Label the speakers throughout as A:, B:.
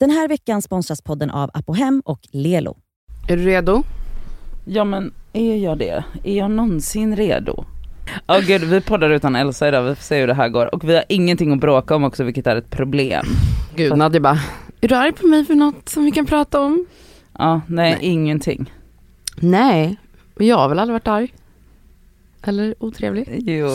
A: Den här veckan sponsras podden av Apohem och Lelo.
B: Är du redo?
C: Ja men är jag det? Är jag någonsin redo? Åh gud, vi poddar utan Elsa idag, vi får se hur det här går. Och vi har ingenting att bråka om också vilket är ett problem.
B: Gud, Nadja bara, är du arg på mig för något som vi kan prata om?
C: Ja, nej,
B: Nej.
C: ingenting.
B: Nej, men jag har väl aldrig varit arg. Eller otrevlig,
C: Jo,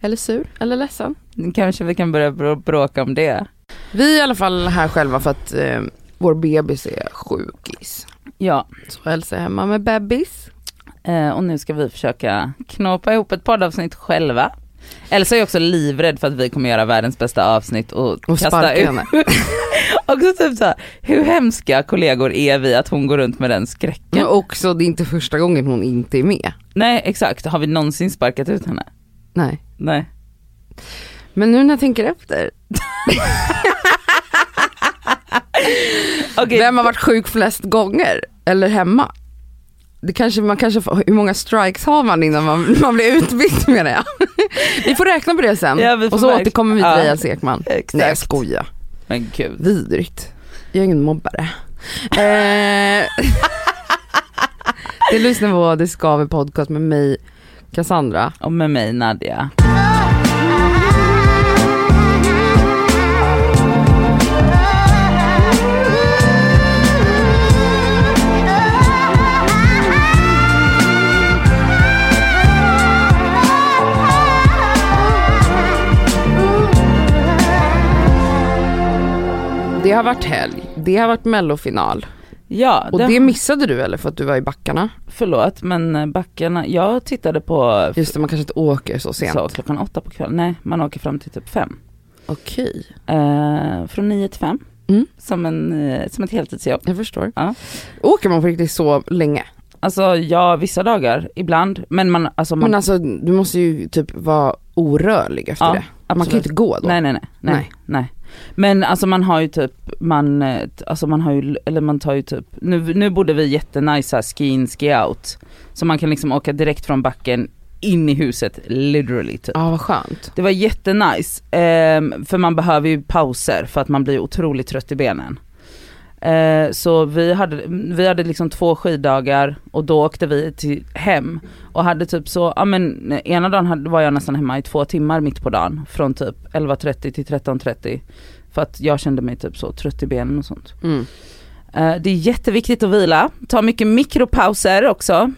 B: eller sur, eller ledsen.
C: kanske vi kan börja brå- bråka om det.
B: Vi är i alla fall här själva för att eh, vår bebis är sjukis.
C: Ja,
B: Så Elsa är hemma med bebis.
C: eh, och nu ska vi försöka knåpa ihop ett poddavsnitt själva. Elsa är också livrädd för att vi kommer göra världens bästa avsnitt och,
B: Och
C: kasta
B: sparkar
C: ut.
B: henne.
C: Också typ så här, hur hemska kollegor är vi att hon går runt med den skräcken?
B: Men också, det är inte första gången hon inte är med.
C: Nej exakt, har vi någonsin sparkat ut henne?
B: Nej.
C: Nej.
B: Men nu när jag tänker efter,
C: Okej,
B: vem har varit sjuk flest gånger? Eller hemma? Det kanske, man kanske får, hur många strikes har man innan man, man blir utbytt menar jag. vi får räkna på det sen
C: Ja, vi får
B: och så
C: verk-
B: återkommer vi till
C: Ja.
B: dig Jens Ekman.
C: Exakt.
B: Nej jag skojar,
C: Men gud.
B: vidrigt. Jag är ingen mobbare. eh, du lyssnar på Det Skaver podcast med mig Cassandra.
C: Och med mig Nadja.
B: Det har varit helg, det har varit mellofinal
C: Ja,
B: och
C: det,
B: det missade du eller för att du var i backarna?
C: förlåt men eh, backarna, jag tittade på
B: Just det man kanske inte åker så sent.
C: så, klockan åtta på kvällen, nej man åker fram till typ fem.
B: Okej,
C: Eh, från nio till fem,
B: Mm.
C: som, en, eh, som ett heltidsjobb.
B: jag förstår.
C: Ja.
B: Åker man på riktigt så länge?
C: Alltså ja, vissa dagar, ibland, men man, alltså man,
B: Men alltså du måste ju typ vara orörlig efter
C: Ja,
B: det. Man kan ju inte gå då.
C: nej, nej nej nej
B: Nej.
C: nej. Men alltså man har ju typ, man, eh, t- alltså man har ju, eller man tar ju typ, nu, nu bodde vi jättenice här, ski in, ski out. Så man kan liksom åka direkt från backen in i huset literally typ.
B: Ja vad skönt.
C: Det var jättenice, ehm, för man behöver ju pauser för att man blir otroligt trött i benen. Eh, så vi hade, vi hade liksom två skiddagar och då åkte vi till hem och hade typ så, ja men ena dagen hade- var jag nästan hemma i två timmar mitt på dagen från typ 11.30 till 13.30 för att jag kände mig typ så trött i benen och sånt.
B: Mm.
C: Eh, det är jätteviktigt att vila, ta mycket mikropauser också.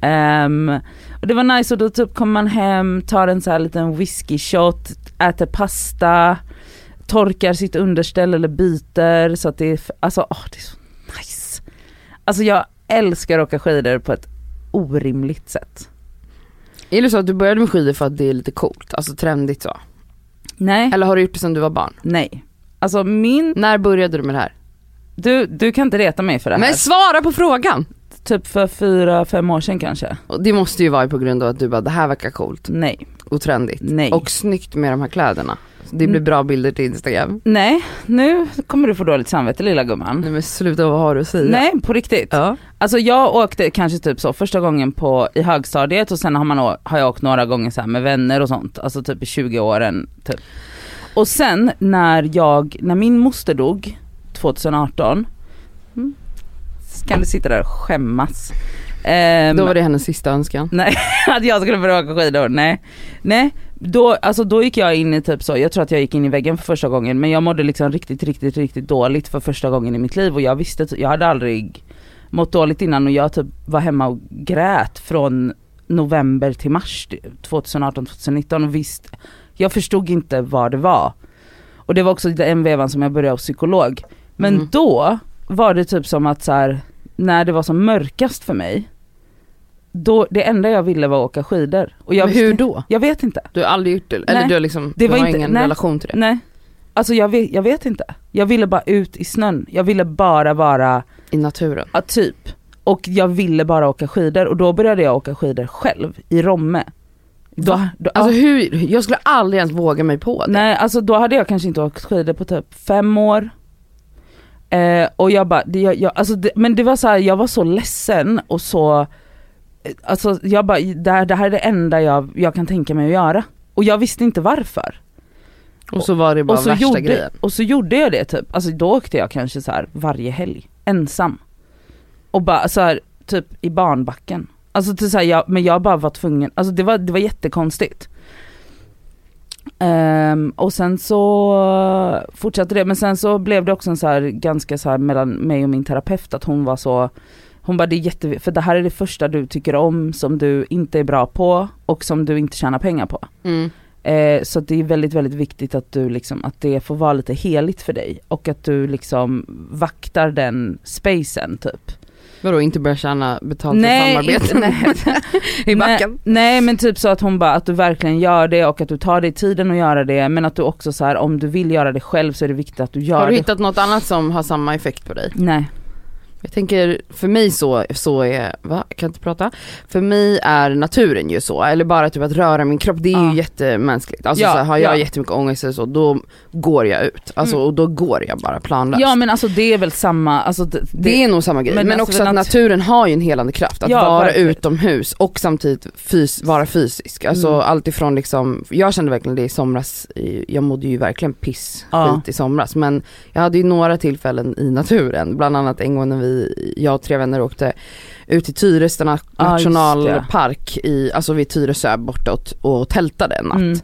C: Ehm, och det var nice och då typ kommer man hem, tar en så här liten whisky shot, äter pasta, torkar sitt underställ eller byter så att det är, f- alltså åh det är så nice. Alltså jag älskar att åka skidor på ett orimligt sätt.
B: Är det så att du började med skidor för att det är lite coolt, alltså trendigt så?
C: Nej,
B: Eller har du gjort det sedan du var barn?
C: nej. Alltså min,
B: När började du med det här?
C: du, du kan inte reta mig för det här.
B: Men svara på frågan!
C: typ för fyra, fem år sedan kanske.
B: Och det måste ju vara på grund av att du bara det här verkar coolt
C: Nej,
B: och trendigt.
C: nej.
B: Och snyggt med de här kläderna. Så det blir
C: Mm.
B: bra bilder till Instagram.
C: Nej, nu kommer du få dåligt samvete lilla gumman.
B: Nej men sluta vad har du att säga?
C: Nej på riktigt.
B: Ja.
C: Alltså jag åkte kanske typ så första gången på, i högstadiet och sen har, man, å- har jag åkt några gånger så här med vänner och sånt, alltså typ i 20 åren typ. Och sen när jag, när min moster dog 2018, mm, kan du sitta där och skämmas. Ehm,
B: Då var det hennes sista önskan.
C: att jag skulle börja åka skidor, nej. Nej, då, alltså då gick jag in i typ så, jag tror att jag gick in i väggen för första gången men jag mådde liksom riktigt, riktigt, riktigt dåligt för första gången i mitt liv och jag visste, typ- jag hade aldrig mått dåligt innan och jag typ var hemma och grät från november till mars 2018-2019 och visst, jag förstod inte vad det var. Och det var också den vevan som jag började hos psykolog. Men
B: Mm.
C: då var det typ som att så här, när det var som mörkast för mig, då, det enda jag ville var att åka skidor. Och jag
B: men hur
C: visste-
B: då?
C: Jag vet inte.
B: Du har aldrig gjort det? Eller
C: Nej.
B: du har liksom,
C: Det
B: du
C: var
B: har
C: inte-
B: ingen
C: nej.
B: relation till det?
C: Nej. Alltså jag vet, jag vet inte. Jag ville bara ut i snön. Jag ville bara vara,
B: I naturen?
C: ja, typ. Och jag ville bara åka skidor och då började jag åka skidor själv i Romme. Då,
B: Va?
C: då,
B: Alltså hur, jag skulle aldrig ens våga mig på det.
C: Nej alltså då hade jag kanske inte åkt skidor på typ fem år. Eh, och jag bara, det, jag, jag, alltså det, men det var så här, jag var så ledsen och så, eh, alltså jag bara, det här, det här är det enda jag, jag kan tänka mig att göra. Och jag visste inte varför.
B: Och så var det bara
C: Och så,
B: värsta
C: gjorde,
B: grejen.
C: och så gjorde jag det typ, alltså då åkte jag kanske så här varje helg, ensam. Och bara så här, typ i barnbacken. Alltså till så här, jag, men jag bara var tvungen, alltså det var, det var jättekonstigt. Ehm, och sen så fortsatte det, men sen så blev det också en så här ganska så här mellan mig och min terapeut att hon var så hon bara det är jätte, för det här är det första du tycker om som du inte är bra på och som du inte tjänar pengar på.
B: Mm.
C: Eh, så att det är väldigt, väldigt viktigt att du liksom, att det får vara lite heligt för dig och att du liksom vaktar den spacen typ.
B: Vadå inte börja tjäna betalt
C: Nej,
B: för samarbeten
C: inte-
B: i backen?
C: Nej, nej men typ så att hon bara, att du verkligen gör det och att du tar dig tiden att göra det men att du också så här om du vill göra det själv så är det viktigt att du gör
B: Har du
C: det.
B: hittat något annat som har samma effekt på dig?
C: Nej.
B: Jag tänker, för mig så, så är, va? Jag kan inte prata. För mig är naturen ju så, eller bara typ att röra min kropp, det är
C: Ja.
B: ju jättemänskligt. Alltså
C: Ja,
B: så här, har jag
C: ja. Mm.
B: jättemycket ångest eller så, då går jag ut. Alltså och då går jag bara planlöst.
C: Ja men alltså det är väl samma, alltså det,
B: det är nog samma grej,
C: men
B: men,
C: alltså
B: också
C: för
B: att
C: nat-
B: naturen har ju en helande kraft. Att
C: Ja,
B: vara
C: verkligen.
B: utomhus och samtidigt fys- vara fysisk. Alltså
C: Mm.
B: allt ifrån liksom, jag kände verkligen det i somras, i- jag mådde ju verkligen piss
C: Ja.
B: skit i somras. Men jag hade ju några tillfällen i naturen, bland annat en gång när vi, jag och tre vänner åkte ut till Tyresö na-
C: Ja, just det.
B: nationalpark, i, alltså vid Tyresö bortåt och tältade en natt.
C: Mm.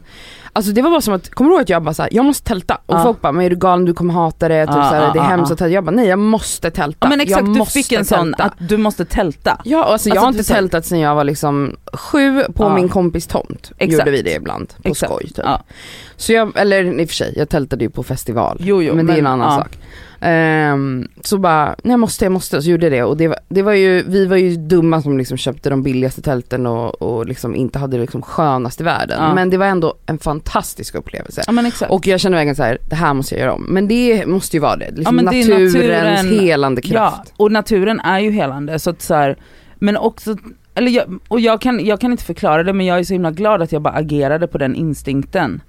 B: Alltså det var bara som att, kommer du ihåg att jag bara såhär, jag måste tälta. Och
C: Ja.
B: folk bara, men är du galen du kommer hata det, typ
C: Ja,
B: såhär,
C: ja,
B: det är
C: ja,
B: hemskt
C: ja.
B: att tälta. Jag bara, nej jag måste tälta.
C: Ja men exakt,
B: jag
C: du
B: måste
C: fick en sån
B: tälta.
C: att du måste tälta.
B: Ja alltså, jag
C: Alltså,
B: har
C: du
B: inte
C: säger-
B: tältat sedan jag var liksom sju på
C: Ja.
B: min kompis tomt.
C: Exakt.
B: Gjorde vi det ibland, på
C: Exakt.
B: skoj typ.
C: Ja.
B: Så jag, eller i och för sig, jag tältade ju på festival.
C: Jo, jo,
B: men det är en annan
C: ja.
B: sak. Ehm, så bara, nej jag måste, jag måste, så gjorde jag det och det var, det var ju, vi var ju dumma som liksom köpte de billigaste tälten och, och liksom inte hade det liksom skönast i världen.
C: Ja.
B: Men det var ändå en fantastisk upplevelse.
C: Ja men exakt.
B: Och jag känner verkligen så här, det här måste jag göra om. Men det måste ju vara det, liksom
C: men det är
B: naturens
C: naturen-
B: helande kraft.
C: Ja, och naturen är ju helande så att så här, men också, eller jag, och jag kan, jag kan inte förklara det men jag är så himla glad att jag bara agerade på den instinkten.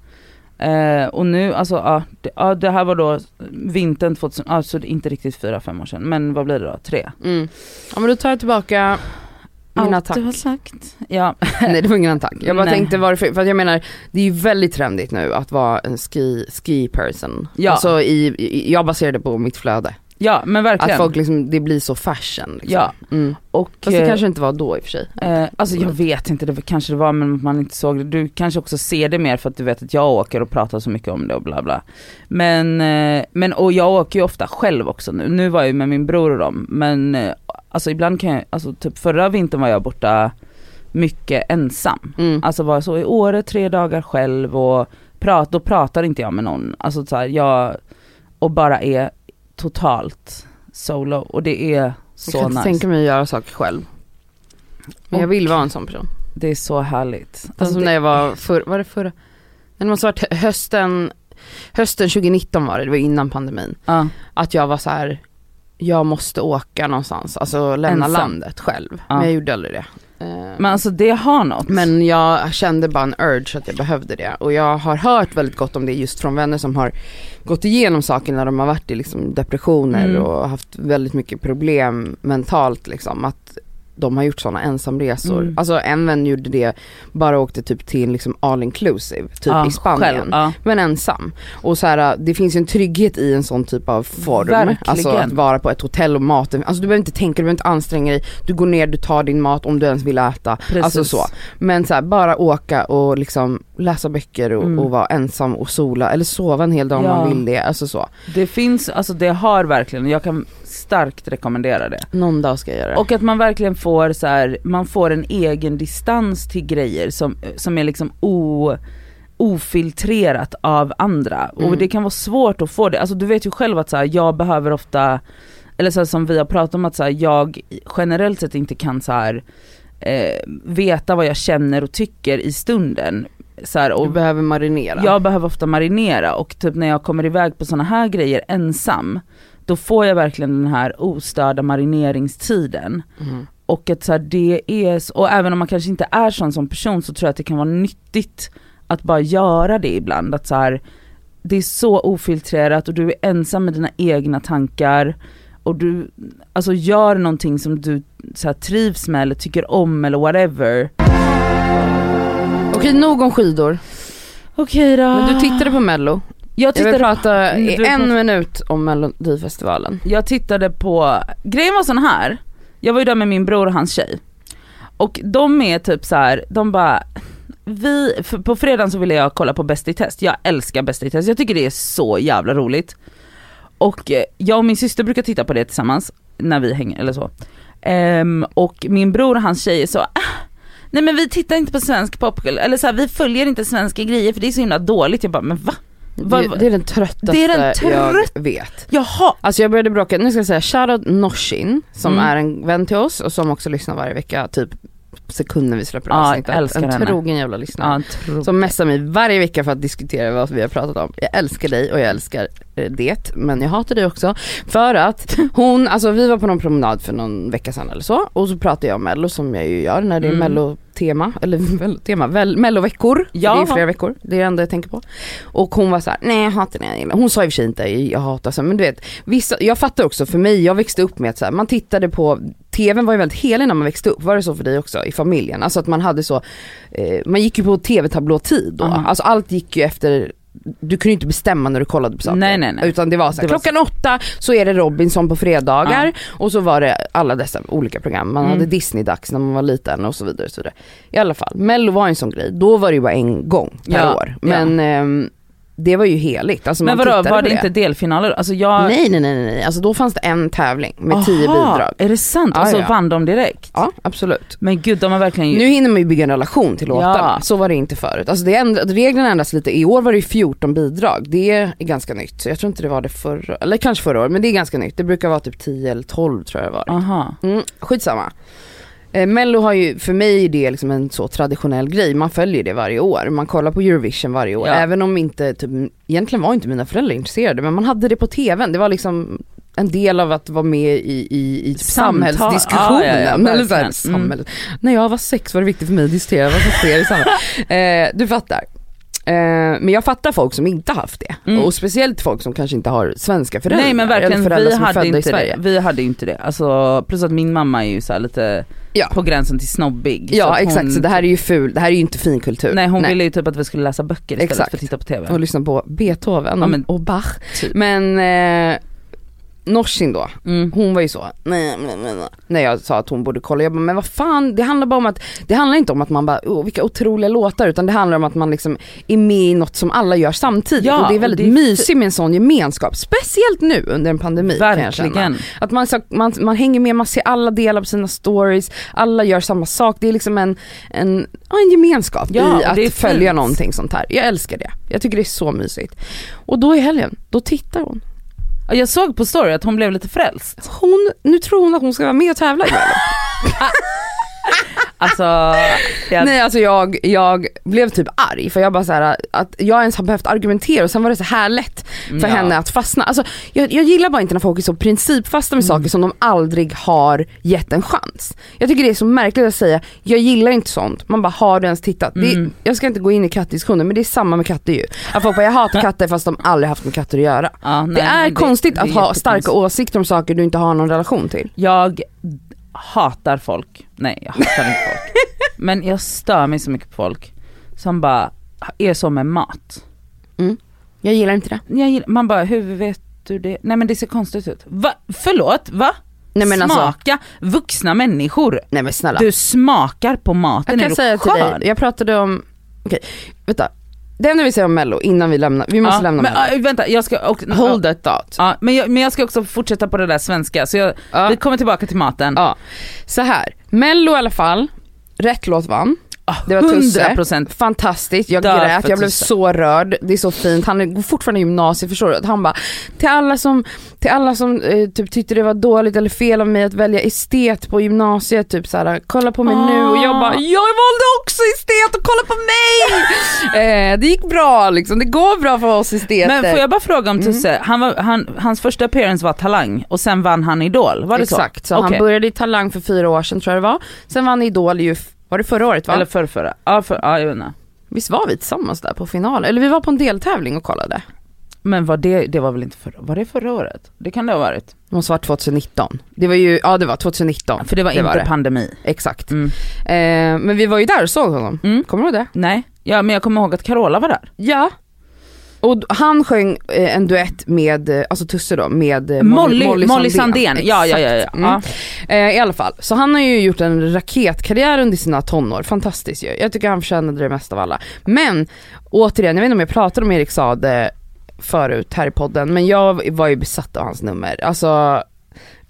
C: Eh, och nu, alltså ja, det, ja, det här var då vintern 2000, alltså det är inte riktigt fyra fem år sedan men vad blir det då, tre?
B: Mm. Ja men då tar jag tillbaka min attack.
C: du har sagt. Ja,
B: Nej det var ingen attack. Jag bara
C: Nej.
B: tänkte varför, för att jag menar det är ju väldigt trendigt nu att vara en ski, ski person.
C: Ja.
B: Alltså i, i, jag baserar det på mitt flöde.
C: ja men verkligen.
B: Att folk liksom, det blir så fashion liksom.
C: Ja,
B: Mm.
C: och
B: Fast det
C: eh,
B: kanske inte var då i och för sig.
C: Eh, alltså jag vet inte, det kanske det var men man inte såg det. Du kanske också ser det mer för att du vet att jag åker och pratar så mycket om det och bla bla. Men, eh, men och jag åker ju ofta själv också nu. Nu var jag ju med min bror och dem men eh, alltså ibland kan jag, alltså typ förra vintern var jag borta mycket ensam.
B: Mm.
C: Alltså var jag så i Åre tre dagar själv och prat, då pratar inte jag med någon. Alltså så här, jag, och bara är totalt solo och det är
B: Jag
C: så
B: kan inte
C: nice.
B: tänka mig att göra saker själv. Men jag vill vara en sån person.
C: Det är så härligt.
B: Alltså som
C: det-
B: när jag var förr, var det förra? Nej, det måste ha varit hö- hösten, hösten 2019 var det, det var innan pandemin.
C: ja.
B: Att jag var så här. jag måste åka någonstans, alltså lämna
C: Ensam.
B: landet själv.
C: Ja.
B: Men jag gjorde aldrig det. Eh,
C: Men alltså det har något.
B: Men jag kände bara en urge att jag behövde det och jag har hört väldigt gott om det just från vänner som har gått igenom saker när de har varit i liksom depressioner
C: Mm.
B: och haft väldigt mycket problem mentalt liksom. Att de har gjort sådana ensamresor.
C: Mm.
B: Alltså en vän gjorde det, bara åkte typ till en liksom all inclusive, typ
C: Ja,
B: i Spanien.
C: Själv, ja.
B: Men ensam. Och så här, det finns ju en trygghet i en sån typ av form.
C: Verkligen.
B: Alltså att vara på ett hotell och maten, alltså du behöver inte tänka, du behöver inte anstränga dig. Du går ner, du tar din mat om du ens vill äta.
C: Precis.
B: Alltså så. Men så här, bara åka och liksom läsa böcker och,
C: Mm.
B: och vara ensam och sola eller sova en hel dag om
C: Ja.
B: man vill det. Alltså så.
C: Det finns, alltså det har verkligen, jag kan starkt rekommendera det.
B: Någon dag ska jag göra det.
C: Och att man verkligen får så här, man får en egen distans till grejer som, som är liksom o, ofiltrerat av andra. Och
B: Mm.
C: det kan vara svårt att få det, alltså du vet ju själv att så här, jag behöver ofta, eller så här, som vi har pratat om att så här, jag generellt sett inte kan så här eh, veta vad jag känner och tycker i stunden. Så här, och
B: du behöver marinera.
C: Jag behöver ofta marinera och typ när jag kommer iväg på sådana här grejer ensam, då får jag verkligen den här ostörda marineringstiden.
B: Mm.
C: Och att så här, det är, s- och även om man kanske inte är sån som person så tror jag att det kan vara nyttigt att bara göra det ibland. Att så här, det är så ofiltrerat och du är ensam med dina egna tankar. Och du, alltså gör någonting som du så här, trivs med eller tycker om eller whatever.
B: Okej nog om skidor.
A: Okej då.
B: Men du tittade på mello.
C: Jag
B: Jag vill
C: Ah. tittade,
B: prata
C: Mm, Du
B: i
C: vill
B: en
C: prata-
B: minut om melodifestivalen.
C: jag tittade på, grejen var sån här. Jag var ju där med min bror och hans tjej. Och de är typ så här, de bara, vi, för på fredagen så ville jag kolla på Bäst i test. Jag älskar Bäst i test, jag tycker det är så jävla roligt. Och eh, jag och min syster brukar titta på det tillsammans när vi hänger eller så. Ehm, och min bror och hans tjej är så, ah, nej men vi tittar inte på svensk popkultur, eller så här, vi följer inte svenska grejer för det är så himla dåligt. Jag bara, men va? Vad-
B: Det, det är den tröttaste
C: Det är den
B: jag vet.
C: Jaha!
B: Alltså jag började bråka, nu ska jag säga shoutout Noshin som
C: Mm.
B: är en vän till oss och som också lyssnar varje vecka typ sekunden vi släpper
C: Ja,
B: avsnittet.
C: jag älskar
B: en
C: henne.
B: trogen jävla lyssnare.
C: Ja, tro-
B: Som messar mig varje vecka för att diskutera vad vi har pratat om. Jag älskar dig och jag älskar eh, det, men jag hatar dig också. För att hon, alltså vi var på någon promenad för någon vecka sedan eller så och så pratade jag om mello som jag ju gör när det är
C: Mm.
B: mellotema, eller mellotema, väl, melloveckor.
C: Ja.
B: Det är flera veckor, det är det enda jag tänker på. Och hon var så här: nej jag hatar det, jag gillar." hon sa i och för sig inte jag hatar så här, men du vet, vissa, jag fattar också för mig, jag växte upp med att så här, man tittade på TVn var ju väldigt helig när man växte upp, var det så för dig också i familjen? Alltså att man hade så, eh, man gick ju på tv-tablåtid då.
C: Aha.
B: Alltså allt gick ju efter, du kunde ju inte bestämma när du kollade på saker.
C: Nej, nej, nej.
B: Utan det var så här,
C: Det var
B: klockan åtta så är det Robinson på fredagar och så var det alla dessa olika program. Man
C: Mm.
B: hade Disney-dags när man var liten och så vidare. Och så vidare. I alla fall, Mello var en sån grej, då var det ju bara en gång per
C: Ja,
B: år.
C: ja.
B: Men ehm, det var ju heligt. Alltså,
C: men
B: man
C: vadå,
B: tittade
C: var
B: på
C: det inte delfinaler? Alltså jag...
B: Nej nej nej nej, nej. alltså då fanns det en tävling med tio
C: Aha,
B: bidrag.
C: Är det sant? Och
B: Ja,
C: så
B: ja.
C: vann de direkt?
B: Ja absolut.
C: Men gud de har verkligen ju...
B: Nu hinner man ju bygga en relation till låtarna,
C: Ja.
B: så var det inte förut. Alltså det ändra, reglerna ändras lite, i år var det ju 14 bidrag, det är ganska nytt. Så Jag tror inte det var det förra, eller kanske förra året, men det är ganska nytt. Det brukar vara typ 10 eller 12 tror jag det var.
C: Aha.
B: Mm, skitsamma. Eh, Mello har ju, för mig är det liksom en så traditionell grej, man följer det varje år. Man kollar på Eurovision varje år.
C: Ja.
B: Även om inte, typ, egentligen var inte mina föräldrar intresserade men man hade det på tvn. Det var liksom en del av att vara med i, i, i typ
C: Samtal.
B: samhällsdiskussionen.
C: Ja, ja, ja,
B: eller så här,
C: verkligen. Mm.
B: samhället. När jag var sex var det viktigt för mig att diskutera vad som sker i samhället. Eh, du fattar. Eh, men jag fattar folk som inte haft det.
C: Mm.
B: Och speciellt folk som kanske inte har svenska föräldrar.
C: Nej men
B: eller
C: verkligen,
B: föräldrar
C: vi
B: som är
C: hade,
B: födda i
C: inte
B: Sverige.
C: det. vi hade inte det. Alltså, plus att min mamma är ju så här lite
B: Ja.
C: på gränsen till snobbig.
B: Ja
C: så att
B: exakt,
C: Liksom, hon-
B: så det här är ju ful, det här är ju inte fin kultur.
C: Nej hon ville ju typ att vi skulle läsa böcker istället
B: Exakt.
C: för att titta på TV.
B: Och lyssna på Beethoven
C: Ja, men-
B: och Bach.
C: Typ.
B: Men eh, Norsin då,
C: Mm.
B: hon var ju så, nej, nej, nej, nej. när jag sa att hon borde kolla, jag bara, men vad fan, det handlar bara om att, det handlar inte om att man bara, oh, vilka otroliga låtar, utan det handlar om att man liksom är med i något som alla gör samtidigt.
C: Ja,
B: och det är
C: och
B: väldigt
C: det är
B: mysigt med en sån gemenskap, speciellt nu under en pandemi kan jag känna.
C: Verkligen.
B: Att man, så- man, man hänger med, man ser alla delar på sina stories, alla gör samma sak. Det är liksom en, en, ja, en gemenskap
C: Ja,
B: i
C: och det är
B: att följa
C: fint.
B: någonting sånt här. Jag älskar det. Jag tycker det är så mysigt. Och då i helgen, då tittar hon.
C: Ja, Jag såg på story att hon blev lite frälst.
B: hon nu tror hon att hon ska vara med och tävla i Mello.
C: Alltså, jag,
B: Nej alltså jag, jag blev typ arg för jag bara så här att jag ens har behövt argumentera och sen var det så här lätt för
C: Mm, Ja.
B: henne att fastna. Alltså, jag, jag gillar bara inte när folk är så principfasta
C: Mm.
B: med saker som de aldrig har gett en chans. Jag tycker det är så märkligt att säga, jag gillar inte sånt. Man bara, har du ens tittat? Det,
C: Mm.
B: jag ska inte gå in i kattdiskussioner men det är samma med katter ju. Att folk bara, jag hatar katter fast de aldrig haft med katter att göra.
C: ja, nej,
B: det är
C: men
B: konstigt
C: det
B: att
C: är
B: ha
C: jättekonstigt.
B: starka åsikter om saker du inte har någon relation till.
C: Jag hatar folk. Nej jag hatar inte folk. Men jag stör mig så mycket på folk som bara är så med mat.
B: Jag gillar inte det.
C: jag gillar, man bara, hur vet du det? Nej men det ser konstigt ut. Va? Förlåt, va?
B: Nej men alltså,
C: Smaka vuxna människor.
B: nej men snälla.
C: Du smakar på maten,
B: Jag
C: är
B: kan
C: du
B: säga till
C: skör?
B: dig, jag pratade om, okej, vänta. Det enda vi säger om mello innan vi lämnar, vi måste
C: ja,
B: lämna
C: men,
B: mello.
C: äh, Vänta, jag ska... Och,
B: Hold that thought.
C: ja, men, jag, men jag ska också fortsätta på det där svenska, så jag,
B: Ja.
C: vi kommer tillbaka till maten.
B: Ja. Så här, mello i alla fall, rätt låt vann.
C: Ah,
B: Det var
C: 100
B: Tusse,
C: procent.
B: fantastiskt, jag
C: Dör
B: grät,
C: för
B: jag blev
C: Tusse.
B: så rörd, det är så fint, han är- går fortfarande i gymnasiet förstår du. Att Han bara, till alla som, till alla som eh, typ tyckte det var dåligt eller fel av mig att välja estet på gymnasiet, typ såhär, kolla på mig nu och jag bara,
C: Ah.
B: jag valde också estet och kolla på mig! eh, det gick bra liksom, det går bra för oss esteter.
C: Men får jag bara fråga
B: Mm-hmm.
C: om Tusse, han var, han, hans första appearance var Talang och sen vann han Idol, var det
B: Exakt, så
C: så? Okej.
B: han började i Talang för fyra år sedan tror jag det var. Sen vann Idol ju, f- var det förra året va?
C: Eller förrförra? Ja, för, ja jag vet inte.
B: Visst var vi tillsammans där på finalen? Eller vi var på en deltävling och kollade.
C: Men var det, det var väl inte förra, var det förra året? Det kan det ha varit.
B: Det måste varit 2019. Det var ju, ja det var 2019.
C: För det var
B: Det
C: inte
B: var det.
C: pandemi.
B: Exakt.
C: Mm.
B: Eh, men vi var ju där och såg honom.
C: Mm.
B: Kommer du ihåg det?
C: Nej, ja, men jag kommer ihåg att Carola var där.
B: Ja. Och d- han sjöng eh, en duett med, eh, alltså Tusse då, med eh,
C: Molly, Molly, Sandén. Ja, ja,
B: Exakt.
C: ja. ja.
B: Mm.
C: ja.
B: Eh, I alla fall, så han har ju gjort en raketkarriär under sina tonår, fantastiskt ju. Jag tycker han förtjänade det mest av alla. Men återigen, jag vet inte om jag pratade om Erik Saade förut här i podden, men jag var ju besatt av hans nummer. Alltså,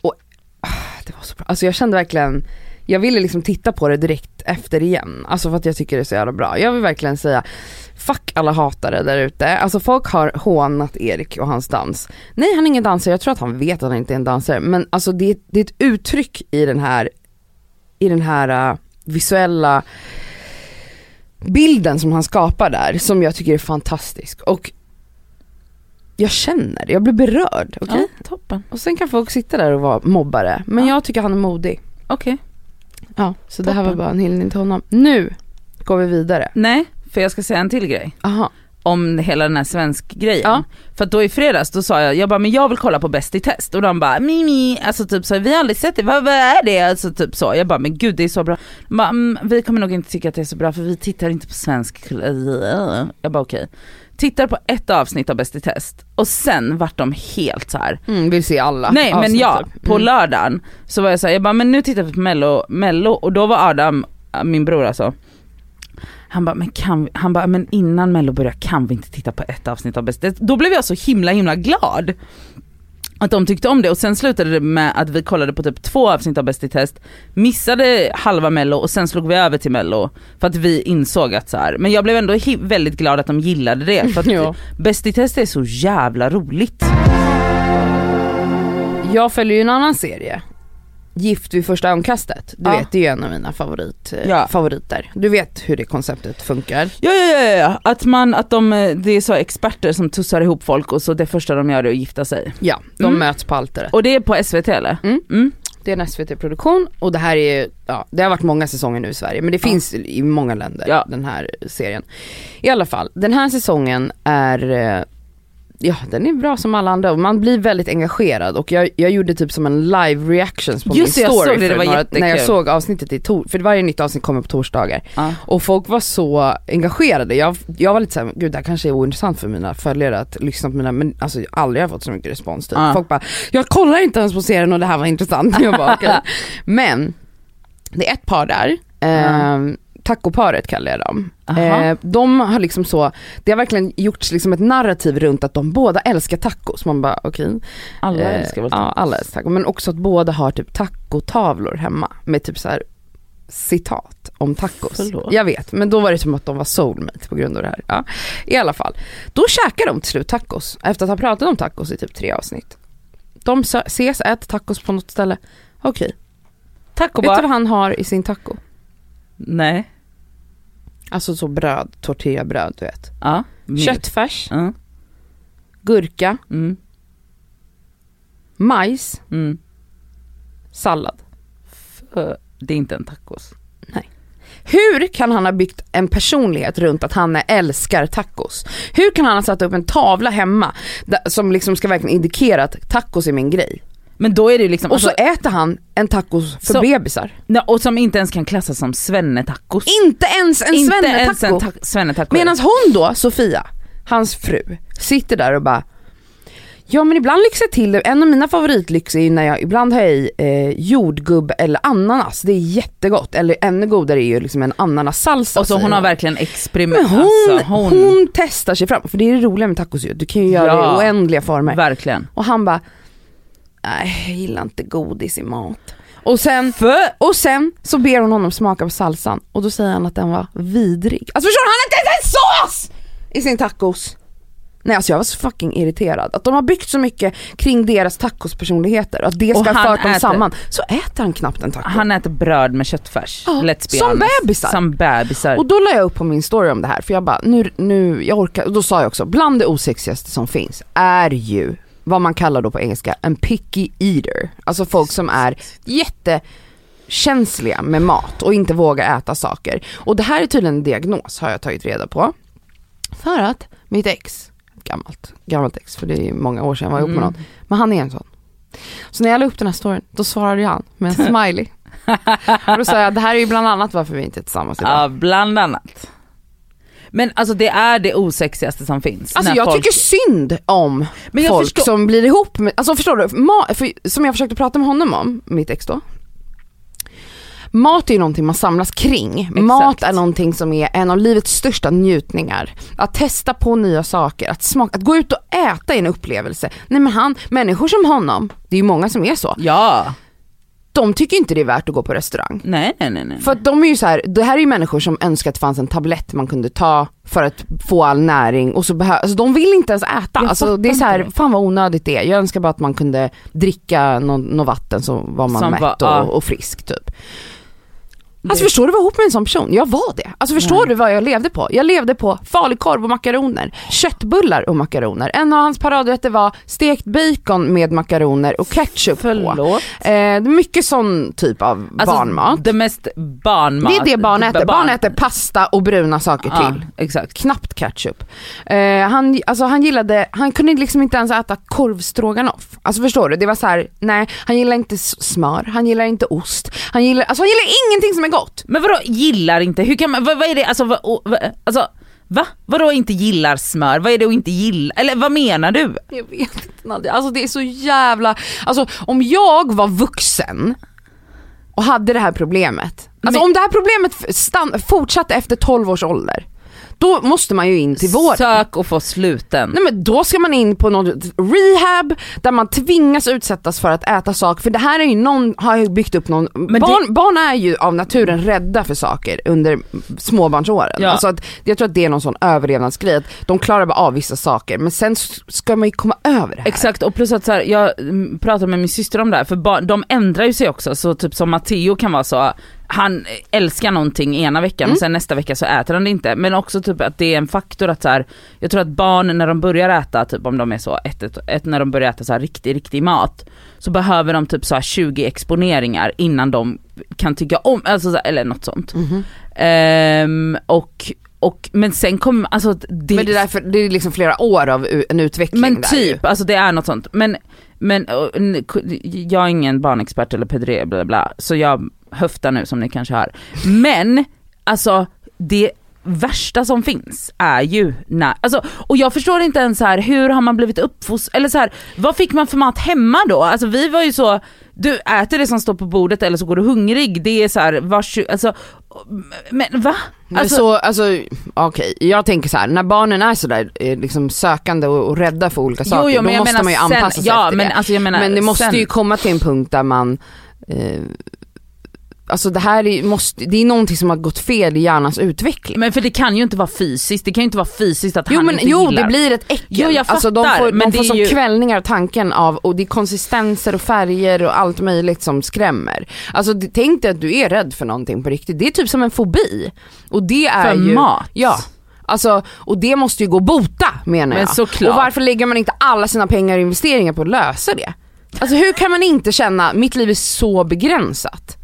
B: och, ah, det var så bra. Alltså jag kände verkligen, jag ville liksom titta på det direkt efter igen. Alltså för att jag tycker det är så jävla bra. Jag vill verkligen säga, fuck alla hatare där ute. Alltså folk har hånat Erik och hans dans. Nej han är ingen dansare, jag tror att han vet att han inte är en dansare. Men alltså det, det är ett uttryck i den här, i den här eh, visuella bilden som han skapar där som jag tycker är fantastisk. Och jag känner, jag blir berörd. Okej?
C: Ja, toppen.
B: Och sen kan folk sitta där och vara mobbare. Men jag tycker han är modig.
C: Okej.
B: Ja, så det här var
C: Toppen.
B: bara en hyllning till honom. Nu går vi vidare.
C: Nej, för jag ska säga en till grej.
B: Aha.
C: om hela den här svensk-grejen.
B: Ja.
C: För att då i fredags då sa jag, jag bara men jag vill kolla på Bäst i test och de bara mimi, alltså typ så, vi har aldrig sett det, vad, vad är det? Alltså typ så. Jag bara men gud det är så bra. De bara, mm, vi kommer nog inte tycka att det är så bra för vi tittar inte på svensk Jag bara okej. Tittar på ett avsnitt av Bäst i test och sen vart de helt så här.
B: Mm, vill se alla
C: Nej men
B: avsnitt,
C: ja,
B: typ.
C: på
B: Mm.
C: lördagen så var jag såhär, jag bara men nu tittar vi på mello, mello och då var Adam, äh, min bror alltså han bara, men kan vi, han bara, men innan mello börjar kan vi inte titta på ett avsnitt av Bäst Det- Då blev jag så himla himla glad att de tyckte om det och sen slutade det med att vi kollade på typ två avsnitt av Bäst i test, missade halva mello och sen slog vi över till mello för att vi insåg att så här. men jag blev ändå hi- väldigt glad att de gillade det för att
B: Ja.
C: Bäst i test är så jävla roligt.
B: Jag följer ju en annan serie. Gift vid första ögonkastet. Du
C: Ja.
B: vet, det är ju en av mina favorit, eh,
C: Ja.
B: favoriter. Du vet hur det konceptet funkar.
C: Ja, ja, ja, ja. Att, man, att de, eh, det är så experter som tussar ihop folk och så det första de gör är att gifta sig.
B: Ja, de
C: Mm.
B: möts på altaret.
C: Och det är på SVT eller?
B: Mm.
C: Mm.
B: Det är en SVT-produktion och det här är ju, ja det har varit många säsonger nu i Sverige men det
C: Ja.
B: finns i många länder
C: Ja.
B: den här serien. I alla fall, den här säsongen är, eh, ja den är bra som alla andra och man blir väldigt engagerad och jag, jag gjorde typ som en live reactions på
C: Just det,
B: min
C: jag
B: story
C: såg det, det
B: för
C: var
B: några, när jag
C: jättekul.
B: såg avsnittet i tor- för varje nytt avsnitt kommer på torsdagar.
C: Ja.
B: Och folk var så engagerade. Jag, jag var lite såhär, gud det här kanske är ointressant för mina följare att lyssna på mina, men alltså jag har aldrig fått så mycket respons typ.
C: Ja.
B: Folk bara, jag kollar inte ens på serien och det här var intressant. Jag bara, "Okej." Men, det är ett par där, eh, tacoparet kallar jag dem.
C: Aha.
B: Eh, de har liksom så, det har verkligen gjorts liksom ett narrativ runt att de båda älskar tacos. Man bara okej.
C: Alla
B: Eh,
C: älskar väl
B: Ja, alla älskar taco. Men också att båda har typ tacotavlor hemma med typ så här citat om tacos.
C: Förlåt.
B: Jag vet, men då var det som att de var soulmate på grund av det här. Ja. I alla fall, då käkar de till slut tacos efter att ha pratat om tacos i typ tre avsnitt. De sö- ses, äter tacos på något ställe. Okej,
C: Taco
B: vet du vad
C: bar?
B: han har i sin taco?
C: Nej.
B: Alltså så bröd, tortillabröd du vet.
C: Ja. Mer.
B: Köttfärs,
C: Ja.
B: gurka,
C: Mm.
B: majs,
C: Mm.
B: sallad.
C: För- Det är inte en tacos.
B: Hur kan han ha byggt en personlighet runt att han älskar tacos? Hur kan han ha satt upp en tavla hemma där, som liksom ska verkligen indikera att tacos är min grej?
C: Men då är det ju liksom,
B: Och så
C: alltså,
B: äter han en tacos för
C: Så-
B: bebisar.
C: nej, och som inte ens kan klassas som svennetacos.
B: Inte ens en
C: inte ens en
B: svennetaco!
C: ta- svennetaco.
B: Medan hon då, Sofia, hans fru, sitter där och bara Ja men ibland lyxar jag till det, en av mina favoritlyx är ju när jag, ibland har jag i eh, jordgubb eller ananas, det är jättegott. Eller ännu godare är ju liksom en ananassalsa.
C: och så
B: säger
C: hon har verkligen
B: Men
C: experimenterat.
B: hon,
C: Alltså,
B: hon... testar sig fram, för det är det roliga med tacos ju, du kan ju göra det
C: Ja.
B: i oändliga former.
C: Verkligen.
B: Och han bara, nej jag gillar inte godis i mat. Och sen,
C: För
B: och sen så ber hon honom smaka på salsan och då säger han att den var vidrig. Alltså förstår du, han har inte ens en sås i sin tacos! Nej alltså jag var så fucking irriterad. Att de har byggt så mycket kring deras tacospersonligheter och att det
C: Och
B: ska ha
C: han
B: fört dem
C: äter-
B: samman. Så äter han knappt en taco.
C: han äter bröd med köttfärs.
B: Ja,
C: Let's be
B: som
C: honest.
B: bebisar.
C: Som bebisar.
B: Och då la jag upp på min story om det här för jag bara, nu, nu, jag orkar, och då sa jag också, bland det osexigaste som finns är ju vad man kallar då på engelska en picky eater. Alltså folk som är jättekänsliga med mat och inte vågar äta saker. Och det här är tydligen en diagnos har jag tagit reda på. För att mitt ex gammalt, gammalt ex för det är många år sedan jag var ihop med någon. Men han är en sån. Så när jag la upp den här storyn, då svarade ju han med en smiley. och då sa jag, det här är ju bland annat varför vi inte är tillsammans idag.
C: Ja, bland annat. Men alltså det är det osexigaste som finns.
B: Alltså
C: när
B: jag
C: folk-
B: tycker synd om
C: Men jag
B: folk
C: förstår-
B: som blir ihop med, alltså förstår du, ma- för, som jag försökte prata med honom om, mitt ex då. Mat är ju någonting man samlas kring. Mat är någonting som är en av livets största njutningar. Att testa på nya saker, att smaka, att gå ut och äta är en upplevelse. Nej men han, människor som honom, det är ju många som är så,
C: Ja,
B: de tycker inte det är värt att gå på restaurang.
C: nej nej nej. nej.
B: För att de är ju så här, det här är ju människor som önskar att det fanns en tablett man kunde ta för att få all näring och så behöver, alltså de vill inte ens äta.
C: Jag
B: Alltså
C: fattar
B: det är så här,
C: inte det.
B: fan vad onödigt det är. Jag önskar bara att man kunde dricka nå- något vatten så var man
C: Som
B: mätt
C: var-
B: och,
C: ja.
B: och frisk typ. Alltså förstår du vad ihop med en sån person? Jag var det. Alltså förstår du vad jag levde på? Jag levde på falukorv och makaroner, köttbullar och makaroner. En av hans paradrätter var stekt bacon med makaroner och ketchup på.
C: Förlåt.
B: Eh, det är mycket sån typ av
C: Alltså,
B: barnmat.
C: Det mest barnmat.
B: Det är det barn äter. Barn äter pasta och bruna saker
C: Ja,
B: till.
C: exakt.
B: Knappt ketchup. Eh, han, alltså han gillade, han kunde liksom inte ens äta korvstroganoff. Alltså förstår du? Det var så här, nej han gillar inte s- smör, han gillar inte ost, han gillar, alltså han gillar ingenting som är gott.
C: Men vadå gillar inte? Hur kan man, vad, vad är det, alltså, vad, och, vad, alltså va? Vadå inte gillar smör? Vad är det att inte gilla? Eller vad menar du?
B: Jag vet inte Nadja, alltså det är så jävla, alltså om jag var vuxen och hade det här problemet, alltså
C: Men-
B: om det här problemet f- stann, fortsatte efter 12 års ålder, då måste man ju in till vården.
C: Sök och få sluten.
B: Nej men då ska man in på något rehab där man tvingas utsättas för att äta saker för det här är ju någon, har ju byggt upp någon,
C: det-
B: barn, barn är ju av naturen rädda för saker under småbarnsåren.
C: Ja.
B: Alltså att, jag tror att det är någon sån överlevnadsgrej, att de klarar bara av vissa saker men sen s- ska man ju komma över det här.
C: Exakt och plus att så här, jag mm, pratade med min syster om det här för ba- de ändrar ju sig också så typ som Matteo kan vara så han älskar någonting ena veckan
B: Mm.
C: och sen nästa vecka så äter han det inte. Men också typ att det är en faktor att så här, jag tror att barn när de börjar äta, typ om de är så ett, ett, ett när de börjar äta så här riktig, riktig mat, så behöver de typ så här 20 exponeringar innan de kan tycka om, alltså så här, eller något sånt.
B: Mm-hmm.
C: Ehm, och, och, men sen kommer, alltså det,
B: Men det, är därför, det är liksom flera år av u- en utveckling
C: men
B: där ju.
C: typ, alltså det är något sånt. Men, men och, n- k- jag är ingen barnexpert eller pedre bla bla, så jag höftar nu som ni kanske hör. Men alltså det värsta som finns är ju när, alltså, och jag förstår inte ens så här hur har man blivit uppfostrad, eller så här, vad fick man för mat hemma då? Alltså vi var ju så, du äter det som står på bordet eller så går du hungrig, det är så här, vars, alltså, men va?
B: Men
C: Alltså,
B: så, alltså, okej, jag tänker så här: när barnen är sådär eh, liksom sökande och, och rädda för olika
C: Alltså,
B: saker, då
C: jag
B: måste
C: menar
B: man ju anpassa sig
C: ja,
B: efter
C: men,
B: det.
C: Alltså, jag menar,
B: men det måste
C: sen,
B: ju komma till en punkt där man, eh, alltså det här är, ju- måste, det är någonting som har gått fel i hjärnans utveckling.
C: Men för det kan ju inte vara fysiskt, det kan ju inte vara fysiskt att
B: Jo
C: han
B: men
C: inte
B: jo
C: gillar.
B: det blir ett äckel,
C: Jo, jag
B: alltså de
C: fattar,
B: får,
C: men
B: de får
C: det är
B: som
C: ju-
B: kvällningar av tanken av, och det är konsistenser och färger och allt möjligt som skrämmer. Alltså det- tänk dig att du är rädd för någonting på riktigt, det är typ som en fobi. Och det är
C: För
B: ju,
C: mat.
B: Ja. Alltså, och det måste ju gå att bota menar
C: Men
B: jag.
C: såklart.
B: Och varför lägger man inte alla sina pengar och investeringar på att lösa det? Alltså hur kan man inte känna, mitt liv är så begränsat?